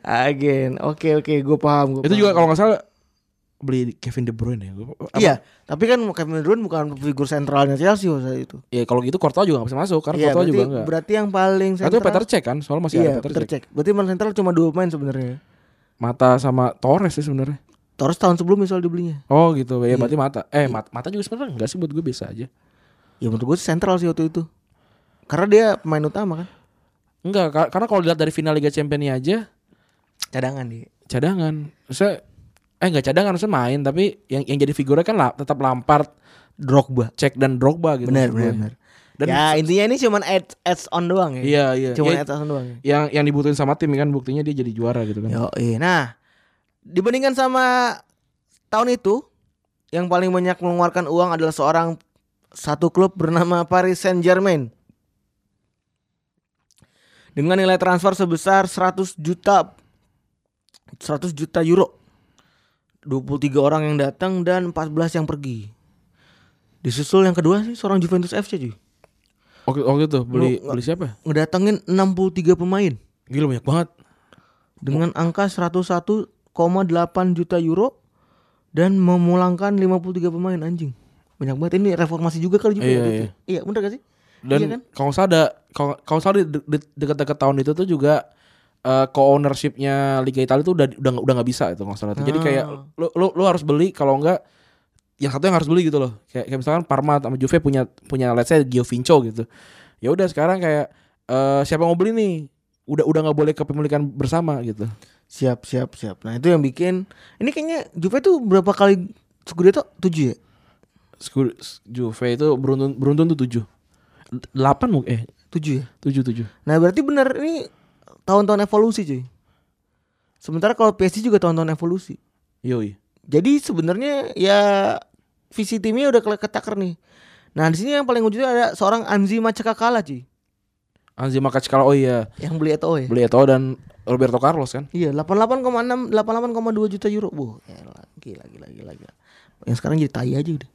Speaker 3: Agen. Oke, oke, gue paham, gua
Speaker 2: ah. itu
Speaker 3: paham.
Speaker 2: juga kalau nggak salah beli Kevin De Bruyne ya Gua- apa-
Speaker 3: Iya, tapi kan Kevin De Bruyne bukan figur sentralnya Chelsea saat itu.
Speaker 2: ya kalau gitu Courtois juga nggak bisa masuk karena
Speaker 3: Iya,
Speaker 2: Courtois
Speaker 3: berarti,
Speaker 2: juga nggak
Speaker 3: berarti yang paling
Speaker 2: itu
Speaker 3: sentral.
Speaker 2: Peter Cech kan soal masih
Speaker 3: Iya,
Speaker 2: ada Peter,
Speaker 3: Peter
Speaker 2: Cech.
Speaker 3: Cech. Berarti yang paling sentral cuma dua pemain sebenarnya.
Speaker 2: mata sama Torres sih sebenarnya
Speaker 3: Torres tahun sebelumnya soal dibelinya.
Speaker 2: oh gitu
Speaker 3: Iya.
Speaker 2: ya berarti mata eh mata, mata juga sebenarnya nggak sih buat gue biasa aja
Speaker 3: Ya menurut gue sentral sih waktu itu. Karena dia pemain utama kan.
Speaker 2: Enggak, ka- karena kalau dilihat dari final Liga Champions aja
Speaker 3: Cadangan dia.
Speaker 2: cadangan. Saya eh nggak cadangan saya main tapi yang yang jadi figurnya kan la- tetap Lampard,
Speaker 3: Drogba.
Speaker 2: Cek dan Drogba gitu. maksud
Speaker 3: Benar, benar,
Speaker 2: gue.
Speaker 3: benar.
Speaker 2: Dan
Speaker 3: ya intinya ini cuman ads, ads on doang ya.
Speaker 2: iya iya.
Speaker 3: Cuman
Speaker 2: Ya,
Speaker 3: ads on doang. Ya.
Speaker 2: yang yang dibutuhin sama tim kan buktinya dia jadi juara gitu kan.
Speaker 3: Yo, Nah, dibandingkan sama tahun itu yang paling banyak mengeluarkan uang adalah seorang satu klub bernama Paris Saint-Germain. Dengan nilai transfer sebesar 100 juta 100 juta euro. 23 orang yang datang dan 14 yang pergi. Disusul yang kedua sih seorang Juventus FC cuy.
Speaker 2: Oke oke tuh beli
Speaker 3: Lu-
Speaker 2: beli siapa? ya?
Speaker 3: Ngedatengin 63 pemain.
Speaker 2: Gila banyak banget.
Speaker 3: dengan angka 101,8 juta euro dan memulangkan 53 pemain anjing. Banyak banget ini reformasi juga kali juga
Speaker 2: Iya,
Speaker 3: waktu
Speaker 2: iya.
Speaker 3: itu. Iya, bener gak sih?
Speaker 2: Dan
Speaker 3: Iya kan?
Speaker 2: kalau saya ada kalau kalau saya di de- dekat-dekat tahun itu tuh juga eh co-ownershipnya Liga Italia tuh udah udah udah nggak bisa itu nggak salah. tuh. Jadi kayak
Speaker 3: Ah.
Speaker 2: lu, lu lu harus beli kalau enggak yang satu yang harus beli gitu loh. Kayak, kayak misalkan Parma sama Juve punya punya let's say Giovinco gitu. Ya udah sekarang kayak eh siapa yang mau beli nih? Udah udah nggak boleh kepemilikan bersama gitu.
Speaker 3: Siap, siap, siap. Nah, itu yang bikin ini kayaknya Juve tuh berapa kali Scudetto? 7 ya?
Speaker 2: Sku- s- Juve itu beruntun beruntun tuh tujuh, delapan mungkin eh
Speaker 3: 7 ya.
Speaker 2: tujuh tujuh.
Speaker 3: Nah, berarti bener ini tahun-tahun evolusi, cuy. Sementara kalau PSG juga tahun-tahun evolusi.
Speaker 2: Yoi.
Speaker 3: Jadi sebenarnya ya visi timnya udah kele- ketaker nih. Nah, di sini yang paling ujungnya ada seorang Anzi Macakakala, cuy.
Speaker 2: Anzi Makachkala oh iya
Speaker 3: Yang beli Eto'o ya.
Speaker 2: beli Eto'o dan Roberto Carlos kan.
Speaker 3: Iya, 88,6 88,2 juta euro. Wah, elah, gila gila gila gila. Yang sekarang jadi tai aja udah.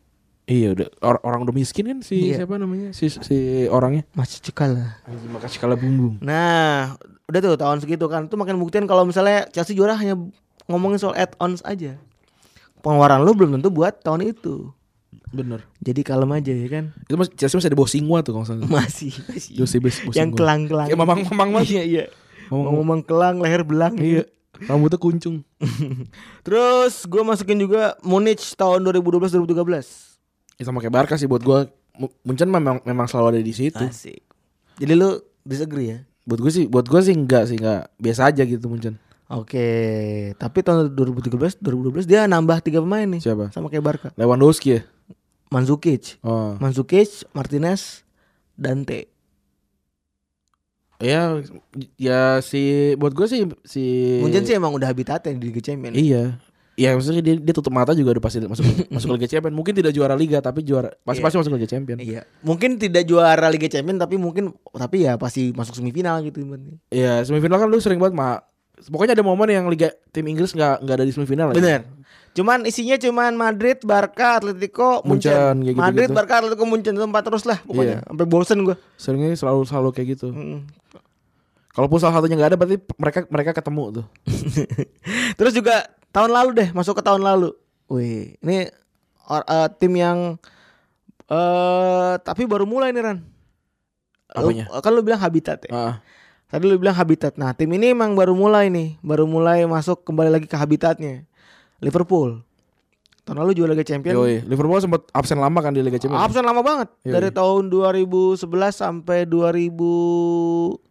Speaker 2: Iya udah Or- orang udah miskin kan si
Speaker 3: Iya.
Speaker 2: siapa namanya si si orangnya.
Speaker 3: Masih cekal lah.
Speaker 2: Makasih kala bumbung.
Speaker 3: Nah, udah tuh tahun segitu kan. Itu makin buktiin kalau misalnya Chelsea juara hanya ngomongin soal add-ons aja. Pengeluaran lu belum tentu buat tahun itu.
Speaker 2: Bener.
Speaker 3: Jadi kalem aja ya kan.
Speaker 2: Itu masih Chelsea masih ada Bosingwa tuh kalau nggak salah.
Speaker 3: Masih. masih.
Speaker 2: Jose Bos- Bosingwa.
Speaker 3: Yang kelang-kelang.
Speaker 2: Kayak mamang-mamang mas.
Speaker 3: Iya, iya.
Speaker 2: Mamang-
Speaker 3: Ngomong kelang leher belang.
Speaker 2: Iya. Rambutnya kuncung.
Speaker 3: Terus gue masukin juga Munich tahun 2012 2013.
Speaker 2: Ya sama kayak Barca sih buat gua Mu- Munchen memang memang selalu ada di situ.
Speaker 3: Asik. Jadi lu disagree ya?
Speaker 2: Buat gue sih, buat gue sih enggak sih enggak biasa aja gitu Munchen.
Speaker 3: Oke, tapi tahun 2013, 2012 dia nambah tiga pemain nih.
Speaker 2: Siapa?
Speaker 3: Sama kayak Barca.
Speaker 2: Lewandowski ya.
Speaker 3: Mandzukic,
Speaker 2: Oh.
Speaker 3: Mandzukic, Martinez, Dante.
Speaker 2: Ya ya si buat gue sih ya? si
Speaker 3: Munchen sih emang udah habitatnya di Liga Champions.
Speaker 2: Iya. Ya maksudnya dia, dia tutup mata juga udah pasti masuk masuk Liga Champions. Mungkin tidak juara liga tapi juara pasti pasti masuk Liga Champions.
Speaker 3: Iya. Mungkin tidak juara Liga Champions tapi mungkin tapi ya pasti masuk semifinal gitu.
Speaker 2: Ya semifinal kan lu sering banget mah. Pokoknya ada momen yang liga tim Inggris nggak nggak ada di semifinal. ya.
Speaker 3: Bener. Cuman isinya cuman Madrid, Barca, Atletico, Munchen. Iya.
Speaker 2: Munchen, kayak gitu-gitu.
Speaker 3: Madrid, Barca, Atletico, Munchen itu empat terus lah pokoknya. Sampai bosen gua.
Speaker 2: Seringnya selalu selalu kayak gitu.
Speaker 3: Mm.
Speaker 2: Kalaupun salah satunya nggak ada berarti mereka mereka ketemu tuh.
Speaker 3: Terus juga tahun lalu deh, masuk ke tahun lalu. Wih, ini or- eh, tim yang eh tapi baru mulai nih Ran. Lu-
Speaker 2: Apanya?
Speaker 3: kan lu bilang habitat ya.
Speaker 2: Ah,
Speaker 3: Tadi lu bilang habitat. Nah, tim ini emang baru mulai nih, baru mulai masuk kembali lagi ke habitatnya. Liverpool. Tahun lalu juara Liga Champions.
Speaker 2: yoi. Iya. Liverpool sempat absen lama kan di Liga Champions.
Speaker 3: Absen lama banget
Speaker 2: Yoi.
Speaker 3: dari tahun 2011 sampai 2000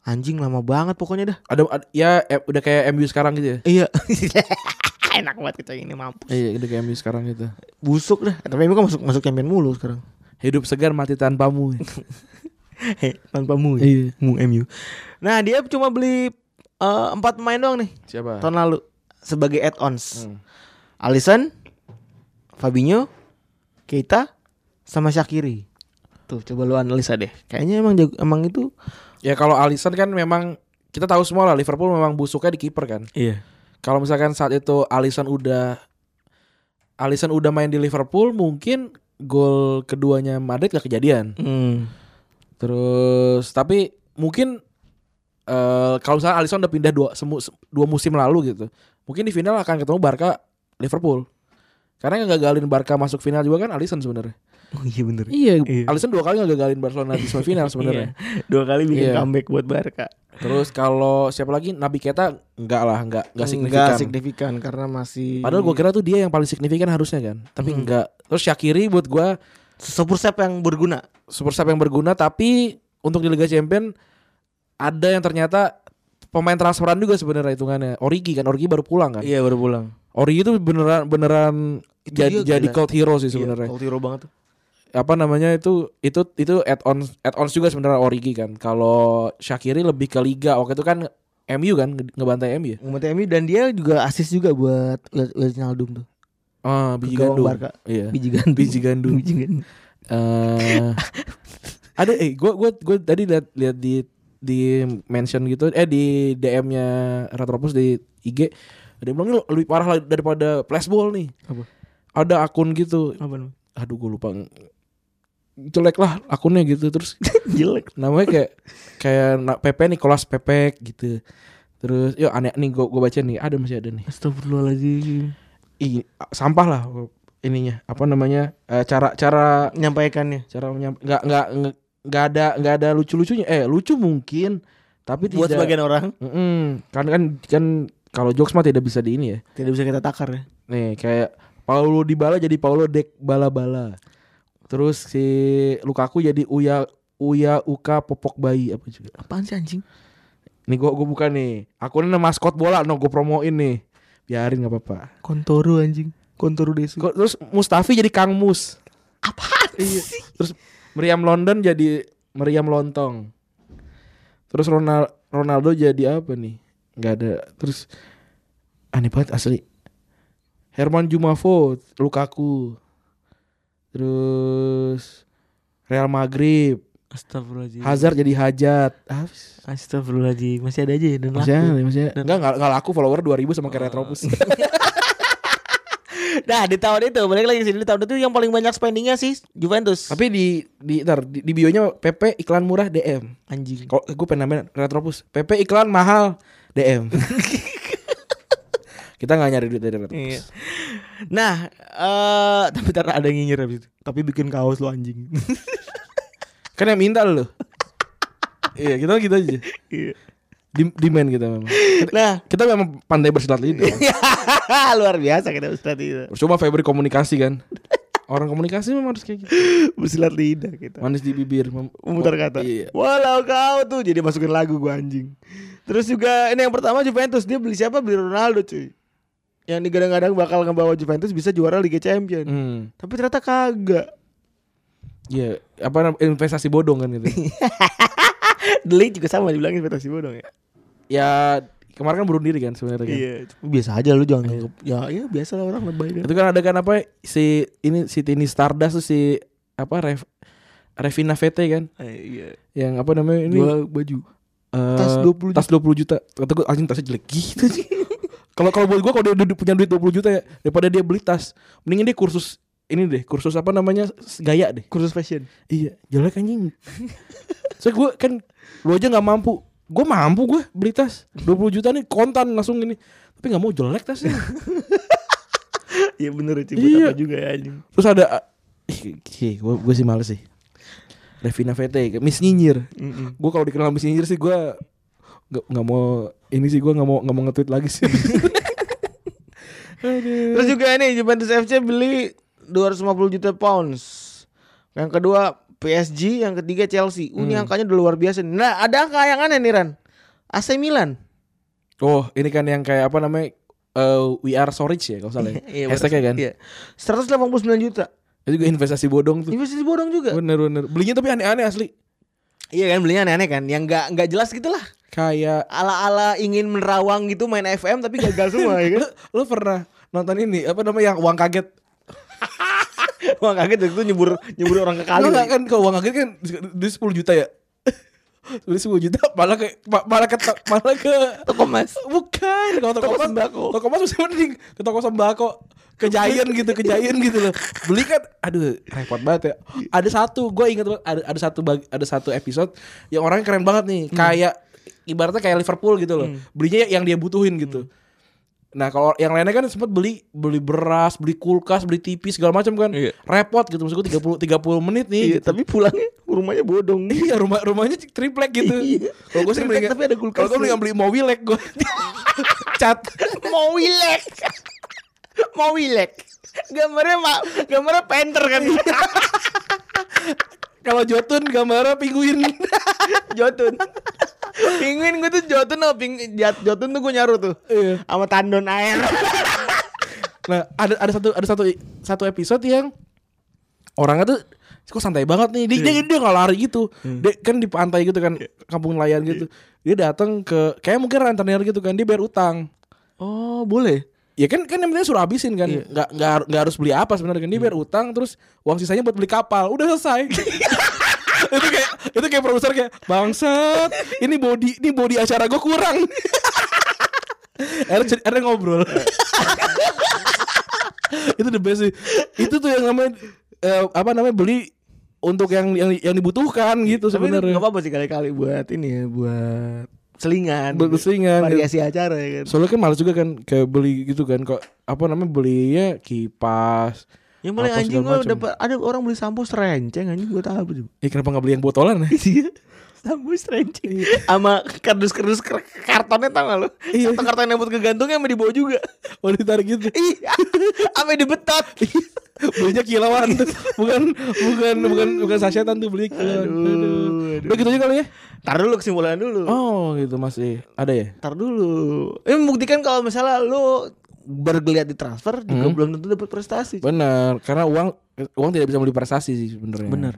Speaker 3: anjing lama banget pokoknya dah.
Speaker 2: Ada, ada- ya eh, udah kayak MU sekarang gitu ya.
Speaker 3: Iya. Enak banget kita ini mampus.
Speaker 2: Iya, udah kayak MU sekarang gitu.
Speaker 3: busuk dah. Eh, Tapi emang kan masuk masuk champion mulu sekarang.
Speaker 2: Hidup segar mati tanpamu.
Speaker 3: tanpa mu. ya?
Speaker 2: iya.
Speaker 3: Mu MU. Nah, dia cuma beli eh, empat pemain doang nih
Speaker 2: Siapa?
Speaker 3: tahun lalu sebagai add-ons. Alisson, Fabinho, Keita, sama Shakiri. Tuh coba lu analisa deh. Kayaknya emang jago, emang itu
Speaker 2: Ya kalau Alisson kan memang kita tahu semua lah Liverpool memang busuknya di kiper kan.
Speaker 3: iya.
Speaker 2: Kalau misalkan saat itu Alisson udah Alisson udah main di Liverpool mungkin gol keduanya Madrid gak kejadian.
Speaker 3: Hmm.
Speaker 2: Terus tapi mungkin eh kalau misalnya Alisson udah pindah dua semu- se- dua musim lalu gitu, mungkin di final akan ketemu Barca Liverpool. Karena gagalin Barca masuk final juga kan Alisson sebenarnya.
Speaker 3: Oh iya bener.
Speaker 2: Iya,
Speaker 3: Iya.
Speaker 2: Alisson dua kali gagalin Barcelona di semifinal sebenarnya.
Speaker 3: Dua kali bikin
Speaker 2: Iya.
Speaker 3: comeback buat Barca.
Speaker 2: Terus kalau siapa lagi Nabi Keta enggak lah, enggak enggak signifikan.
Speaker 3: Nggak signifikan karena masih
Speaker 2: Padahal gue kira tuh dia yang paling signifikan harusnya kan, tapi enggak. Terus Shakiri buat gue
Speaker 3: super sep yang berguna.
Speaker 2: super sub yang berguna tapi untuk di Liga Champion ada yang ternyata pemain transferan juga sebenarnya hitungannya. Origi kan Origi baru pulang kan.
Speaker 3: Iya baru pulang.
Speaker 2: Origi itu beneran beneran
Speaker 3: Itu
Speaker 2: jadi
Speaker 3: dia
Speaker 2: jadi
Speaker 3: gila.
Speaker 2: cult hero sih
Speaker 3: Sebenarnya.
Speaker 2: sebenarnya.
Speaker 3: banget tuh.
Speaker 2: Apa namanya itu itu itu add on add ons juga sebenarnya Origi kan. Kalau Shakiri lebih ke liga. Waktu itu kan MU kan nge- ngebantai MU ya.
Speaker 3: Umat MU dan dia juga asis juga buat Wil- Wijnaldum tuh.
Speaker 2: Ah, biji
Speaker 3: Ke gawang
Speaker 2: gandum.
Speaker 3: Barca.
Speaker 2: Iya.
Speaker 3: Biji gandum.
Speaker 2: Biji gandum.
Speaker 3: Biji gandum.
Speaker 2: eh ada eh gue gue gue tadi lihat lihat di di mention gitu eh di DM-nya Retropus di IG ada yang bilang ini lebih parah lagi daripada flashball nih
Speaker 3: Apa?
Speaker 2: ada akun gitu
Speaker 3: Apa namanya?
Speaker 2: aduh gue lupa jelek lah akunnya gitu terus
Speaker 3: Jelek.
Speaker 2: namanya kayak kayak na- Pepe Nicolas Pepe gitu terus yo aneh nih gue gue baca nih ada masih ada nih
Speaker 3: Astagfirullahaladzim.
Speaker 2: Ih, sampah lah ininya apa namanya eh, cara cara
Speaker 3: Nyampaikannya.
Speaker 2: cara menyampa- nggak nggak nggak- nggak ada nggak ada lucu lucunya eh lucu mungkin tapi
Speaker 3: Buat
Speaker 2: tidak
Speaker 3: sebagian orang
Speaker 2: Mm-mm. kan kan kan kalau jokes mah tidak bisa di ini ya
Speaker 3: tidak bisa kita takar ya.
Speaker 2: nih kayak Paulo Dybala jadi Paulo Dek Bala Bala terus si Lukaku jadi Uya Uya Uka Popok Bayi apa juga
Speaker 3: Apaan sih anjing?
Speaker 2: nih gua gua buka nih aku ini maskot bola no gua promoin nih biarin nggak apa-apa
Speaker 3: Kontoru anjing. Kontoru Desu.
Speaker 2: Kok- terus Mustafi jadi Kang Mus
Speaker 3: Apaan
Speaker 2: Iya. Terus Meriam London jadi Meriam Lontong. Terus Ronal- Ronaldo jadi apa nih? Nggak ada. Terus aneh banget asli. Herman Jumafo, Lukaku. Terus Real Madrid,
Speaker 3: Astagfirullahaladzim.
Speaker 2: Hazard jadi Hajat. Ah,
Speaker 3: Astagfirullahaladzim. Masih ada aja ya dan
Speaker 2: Maksudnya,
Speaker 3: laku.
Speaker 2: maksudnya enggak enggak enggak laku follower 2000 sama kayak Retropus.
Speaker 3: Nah di tahun itu balik lagi sih di tahun itu yang paling banyak spendingnya sih Juventus.
Speaker 2: Tapi di di ntar, di, di bio-nya PP iklan murah DM.
Speaker 3: anjing.
Speaker 2: Kalau gue pengen nambahin Retropus PP iklan mahal DM Kita gak nyari duit dari Retropus
Speaker 3: Iya. Nah, eh tapi ntar ada yang nyinyir abis itu. Tapi bikin kaos lo anjing.
Speaker 2: Kan yang minta lu Iya kita gitu aja
Speaker 3: Iya.
Speaker 2: Dem- Demand kita memang Kita-
Speaker 3: nah,
Speaker 2: Kita memang pandai bersilat lidah
Speaker 3: Iya. luar biasa kita bersilat lidah.
Speaker 2: Percuma Febri komunikasi kan Orang komunikasi memang harus kayak gitu
Speaker 3: Bersilat lidah kita.
Speaker 2: Manis di bibir mem-
Speaker 3: Memutar kata.
Speaker 2: Iya
Speaker 3: Walau kau tuh jadi masukin lagu gua anjing. Terus juga ini yang pertama Juventus dia beli siapa? Beli Ronaldo cuy. Yang digadang-gadang bakal ngebawa Juventus bisa juara Liga Champions.
Speaker 2: Hmm.
Speaker 3: Tapi ternyata kagak.
Speaker 2: Iya, apa nam- investasi bodong kan gitu.
Speaker 3: Deli juga sama dibilang investasi bodong ya.
Speaker 2: ya kemarin kan bunuh diri kan sebenarnya kan.
Speaker 3: Iya, biasa aja lu jangan nganggep. Ya, ya biasa lah orang lebay dia.
Speaker 2: Itu kan ada kan apa si ini si Tini Stardust tuh si apa Rev, Revina Vete kan
Speaker 3: Eh, Iya.
Speaker 2: yang apa namanya ini
Speaker 3: Jual baju.
Speaker 2: eh,
Speaker 3: tas 20 juta.
Speaker 2: tas 20 juta. Kata gue anjing tasnya jelek gitu sih. Kalau kalau buat gue kalau dia udah punya duit 20 juta ya daripada dia beli tas, mendingan dia kursus ini deh, kursus apa namanya s- gaya deh.
Speaker 3: kursus fashion.
Speaker 2: Iya, jelek anjing. Soalnya gue kan lu aja nggak mampu. Gue mampu gue beli tas 20 juta nih kontan langsung ini. Tapi nggak mau jelek tasnya.
Speaker 3: Iya bener sih
Speaker 2: buat Iya. apa
Speaker 3: juga ya anjing.
Speaker 2: Terus ada ih, gue gue sih males sih. Revina VT, Miss Nyinyir. Gue kalau dikenal Miss Nyinyir sih gue nggak nggak mau ini sih gue nggak mau nggak mau nge-tweet lagi sih.
Speaker 3: Terus juga ini Juventus FC beli 250 juta pounds. Yang kedua PSG, yang ketiga Chelsea. Uh, Ini angkanya udah luar biasa. nih. Nah, ada angka yang aneh nih Ran. AC Milan.
Speaker 2: Oh, ini kan yang kayak apa namanya? eh we are sorry ya kalau salah. ya.
Speaker 3: bener.
Speaker 2: Hashtagnya kan.
Speaker 3: Iya. 189 juta.
Speaker 2: Itu juga investasi bodong tuh.
Speaker 3: Investasi bodong juga.
Speaker 2: Bener bener. Belinya tapi aneh-aneh asli.
Speaker 3: Iya kan belinya aneh-aneh kan, yang nggak nggak jelas gitu lah.
Speaker 2: Kayak
Speaker 3: Ala-ala ingin menerawang gitu main FM tapi gagal semua ya kan.
Speaker 2: lu pernah nonton ini apa namanya yang uang kaget
Speaker 3: uang kaget dan itu nyebur nyebur orang ke kali.
Speaker 2: Enggak, enggak, kan kalau uang kaget kan dia 10 juta ya. Dia 10 juta malah ke ma- malah ke malah ke
Speaker 3: Toko mas.
Speaker 2: bukan kalau toko,
Speaker 3: Toko
Speaker 2: mas
Speaker 3: sembako.
Speaker 2: Toko mas masih mending ke toko sembako ke Giant gitu, ke Giant gitu loh. Beli kan aduh repot banget ya. Ada satu, gue ingat banget, ada ada satu bag- ada satu episode yang orangnya keren banget nih,
Speaker 3: Hmm.
Speaker 2: kayak ibaratnya kayak Liverpool gitu loh. Belinya yang dia butuhin gitu.
Speaker 3: Hmm.
Speaker 2: Nah kalau yang lainnya kan sempat beli beli beras, beli kulkas, beli TV segala macam kan.
Speaker 3: Iya.
Speaker 2: Repot gitu maksud gue 30 30 menit nih.
Speaker 3: Iya,
Speaker 2: gitu.
Speaker 3: tapi pulangnya rumahnya bodong.
Speaker 2: Iya rumah rumahnya triplek gitu.
Speaker 3: Iya.
Speaker 2: Kalau gue sih
Speaker 3: Triplek
Speaker 2: mendingan-
Speaker 3: tapi ada kulkas. ya.
Speaker 2: Kalau gue mendingan beli mowilek gue. Cat.
Speaker 3: Mau wilek. Mau wilek. Gambarnya mak, gambarnya painter kan.
Speaker 2: Iya. Kalau jotun gambarnya pinguin.
Speaker 3: jotun. Pinguin gue tuh jotun oh, ping, jat- jotun tuh gue nyaru tuh.
Speaker 2: Iya.
Speaker 3: Sama tandon air.
Speaker 2: nah ada ada satu ada satu satu episode yang orangnya tuh kok santai banget nih dia dia, dia nggak lari gitu dia kan di pantai gitu kan kampung nelayan gitu dia datang ke kayak mungkin rentenir gitu kan dia bayar utang
Speaker 3: Oh, boleh.
Speaker 2: ya kan kan yang penting suruh habisin kan
Speaker 3: Iya.
Speaker 2: nggak nggak har- nggak harus beli apa sebenarnya kan dia biar utang terus uang sisanya buat beli kapal udah selesai itu kayak itu kayak produser kayak bangsat ini body ini body acara gue kurang Akhirnya, jadi- akhirnya ngobrol itu the best sih itu tuh yang namanya eh, apa namanya beli untuk yang yang, yang dibutuhkan gitu
Speaker 3: Tapi
Speaker 2: sebenarnya
Speaker 3: nggak apa-apa sih kali-kali buat ini ya, buat selingan.
Speaker 2: Buat selingan.
Speaker 3: Variasi acara ya kan.
Speaker 2: soalnya kan males juga kan kayak beli gitu kan kok apa namanya belinya kipas
Speaker 3: Yang paling
Speaker 2: apa
Speaker 3: anjing
Speaker 2: segala
Speaker 3: gue
Speaker 2: macem.
Speaker 3: dapat ada orang beli sampo serenceng anjing gue tahu tuh.
Speaker 2: Eh kenapa nggak beli yang botolan ya?
Speaker 3: sampo serenceng sama kardus-kardus ker- kartonnya tau gak lo?
Speaker 2: Iya.
Speaker 3: Satu karton yang buat kegantungnya sama dibawa juga.
Speaker 2: Oh ditarik gitu. Iya.
Speaker 3: Iya. Sama dibetot.
Speaker 2: Belinya kilauan bukan bukan bukan bukan sasetan tuh beli kilauan.
Speaker 3: Aduh, aduh.
Speaker 2: Udah gitu aja kali ya.
Speaker 3: Tar dulu kesimpulan dulu.
Speaker 2: Oh gitu masih ada ya.
Speaker 3: Tar dulu. Ini membuktikan kalau misalnya lo bergeliat di transfer juga
Speaker 2: Hmm.
Speaker 3: belum tentu dapat prestasi.
Speaker 2: Benar, karena uang uang tidak bisa beli prestasi sih sebenarnya.
Speaker 3: Bener.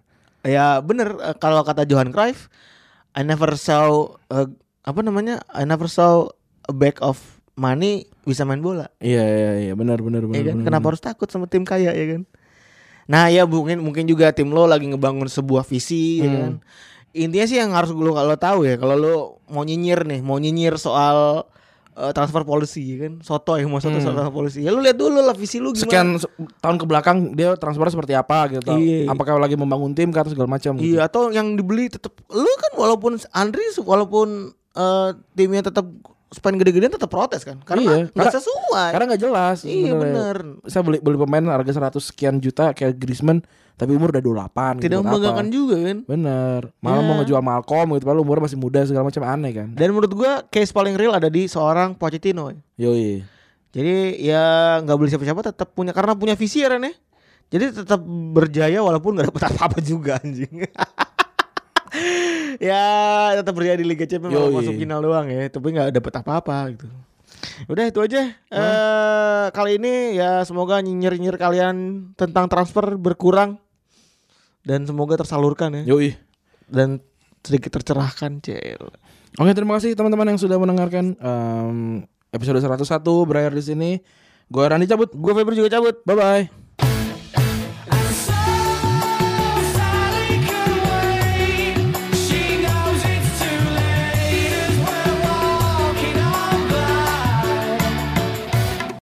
Speaker 3: Ya bener eh, kalau kata Johan Cruyff, I never saw eh, apa namanya? I never saw a bag of money bisa main bola.
Speaker 2: Iya iya iya benar benar benar.
Speaker 3: Ya kan?
Speaker 2: benar,
Speaker 3: Kenapa
Speaker 2: benar.
Speaker 3: harus takut sama tim kaya ya kan? Nah ya mungkin mungkin juga tim lo lagi ngebangun sebuah
Speaker 2: Hmm.
Speaker 3: visi ya kan. Intinya sih yang harus lo kalau tahu ya kalau lo mau nyinyir nih, mau nyinyir soal eh, transfer policy ya kan. Soto yang mau soto soal transfer policy. Ya lo lihat dulu lah visi lo gimana.
Speaker 2: Hmm. sekian se- tahun ke belakang dia transfer seperti apa gitu.
Speaker 3: Iya.
Speaker 2: Apakah lagi membangun tim kan segala macam gitu.
Speaker 3: Iya atau yang dibeli tetap lu kan walaupun Andri walaupun eh, timnya tetap spend gede-gedean tetap protes kan
Speaker 2: Iya.
Speaker 3: karena nggak
Speaker 2: Nggak-
Speaker 3: sesuai.
Speaker 2: Karena nggak jelas.
Speaker 3: iya
Speaker 2: sebenarnya.
Speaker 3: bener.
Speaker 2: Saya beli beli pemain harga 100 sekian juta kayak Griezmann tapi umur udah 28 gitu,
Speaker 3: Tidak
Speaker 2: buat apa?
Speaker 3: membanggakan juga kan. Iya.
Speaker 2: Bener Malah mau ngejual Malcolm gitu Padahal umurnya masih muda segala macam aneh kan
Speaker 3: Dan menurut gua case paling real ada di seorang Pochettino. ya.
Speaker 2: Yoi
Speaker 3: Jadi ya nggak beli siapa-siapa tetap punya karena punya visi ya Ren ya. Jadi tetap berjaya walaupun nggak dapet apa-apa juga anjing. ya tetap berjaya di Liga Champions
Speaker 2: Yoi.
Speaker 3: walaupun masuk final doang ya, tapi nggak dapet apa-apa gitu. Udah itu aja. Eh kali ini ya semoga nyinyir-nyinyir kalian tentang transfer berkurang dan semoga tersalurkan ya
Speaker 2: Yoi
Speaker 3: dan sedikit tercerahkan, Cel.
Speaker 2: Oke terima kasih teman-teman yang sudah mendengarkan Em, Episode 101 berakhir di sini Gue Randy cabut
Speaker 3: Gue Febri juga cabut.
Speaker 2: Bye-bye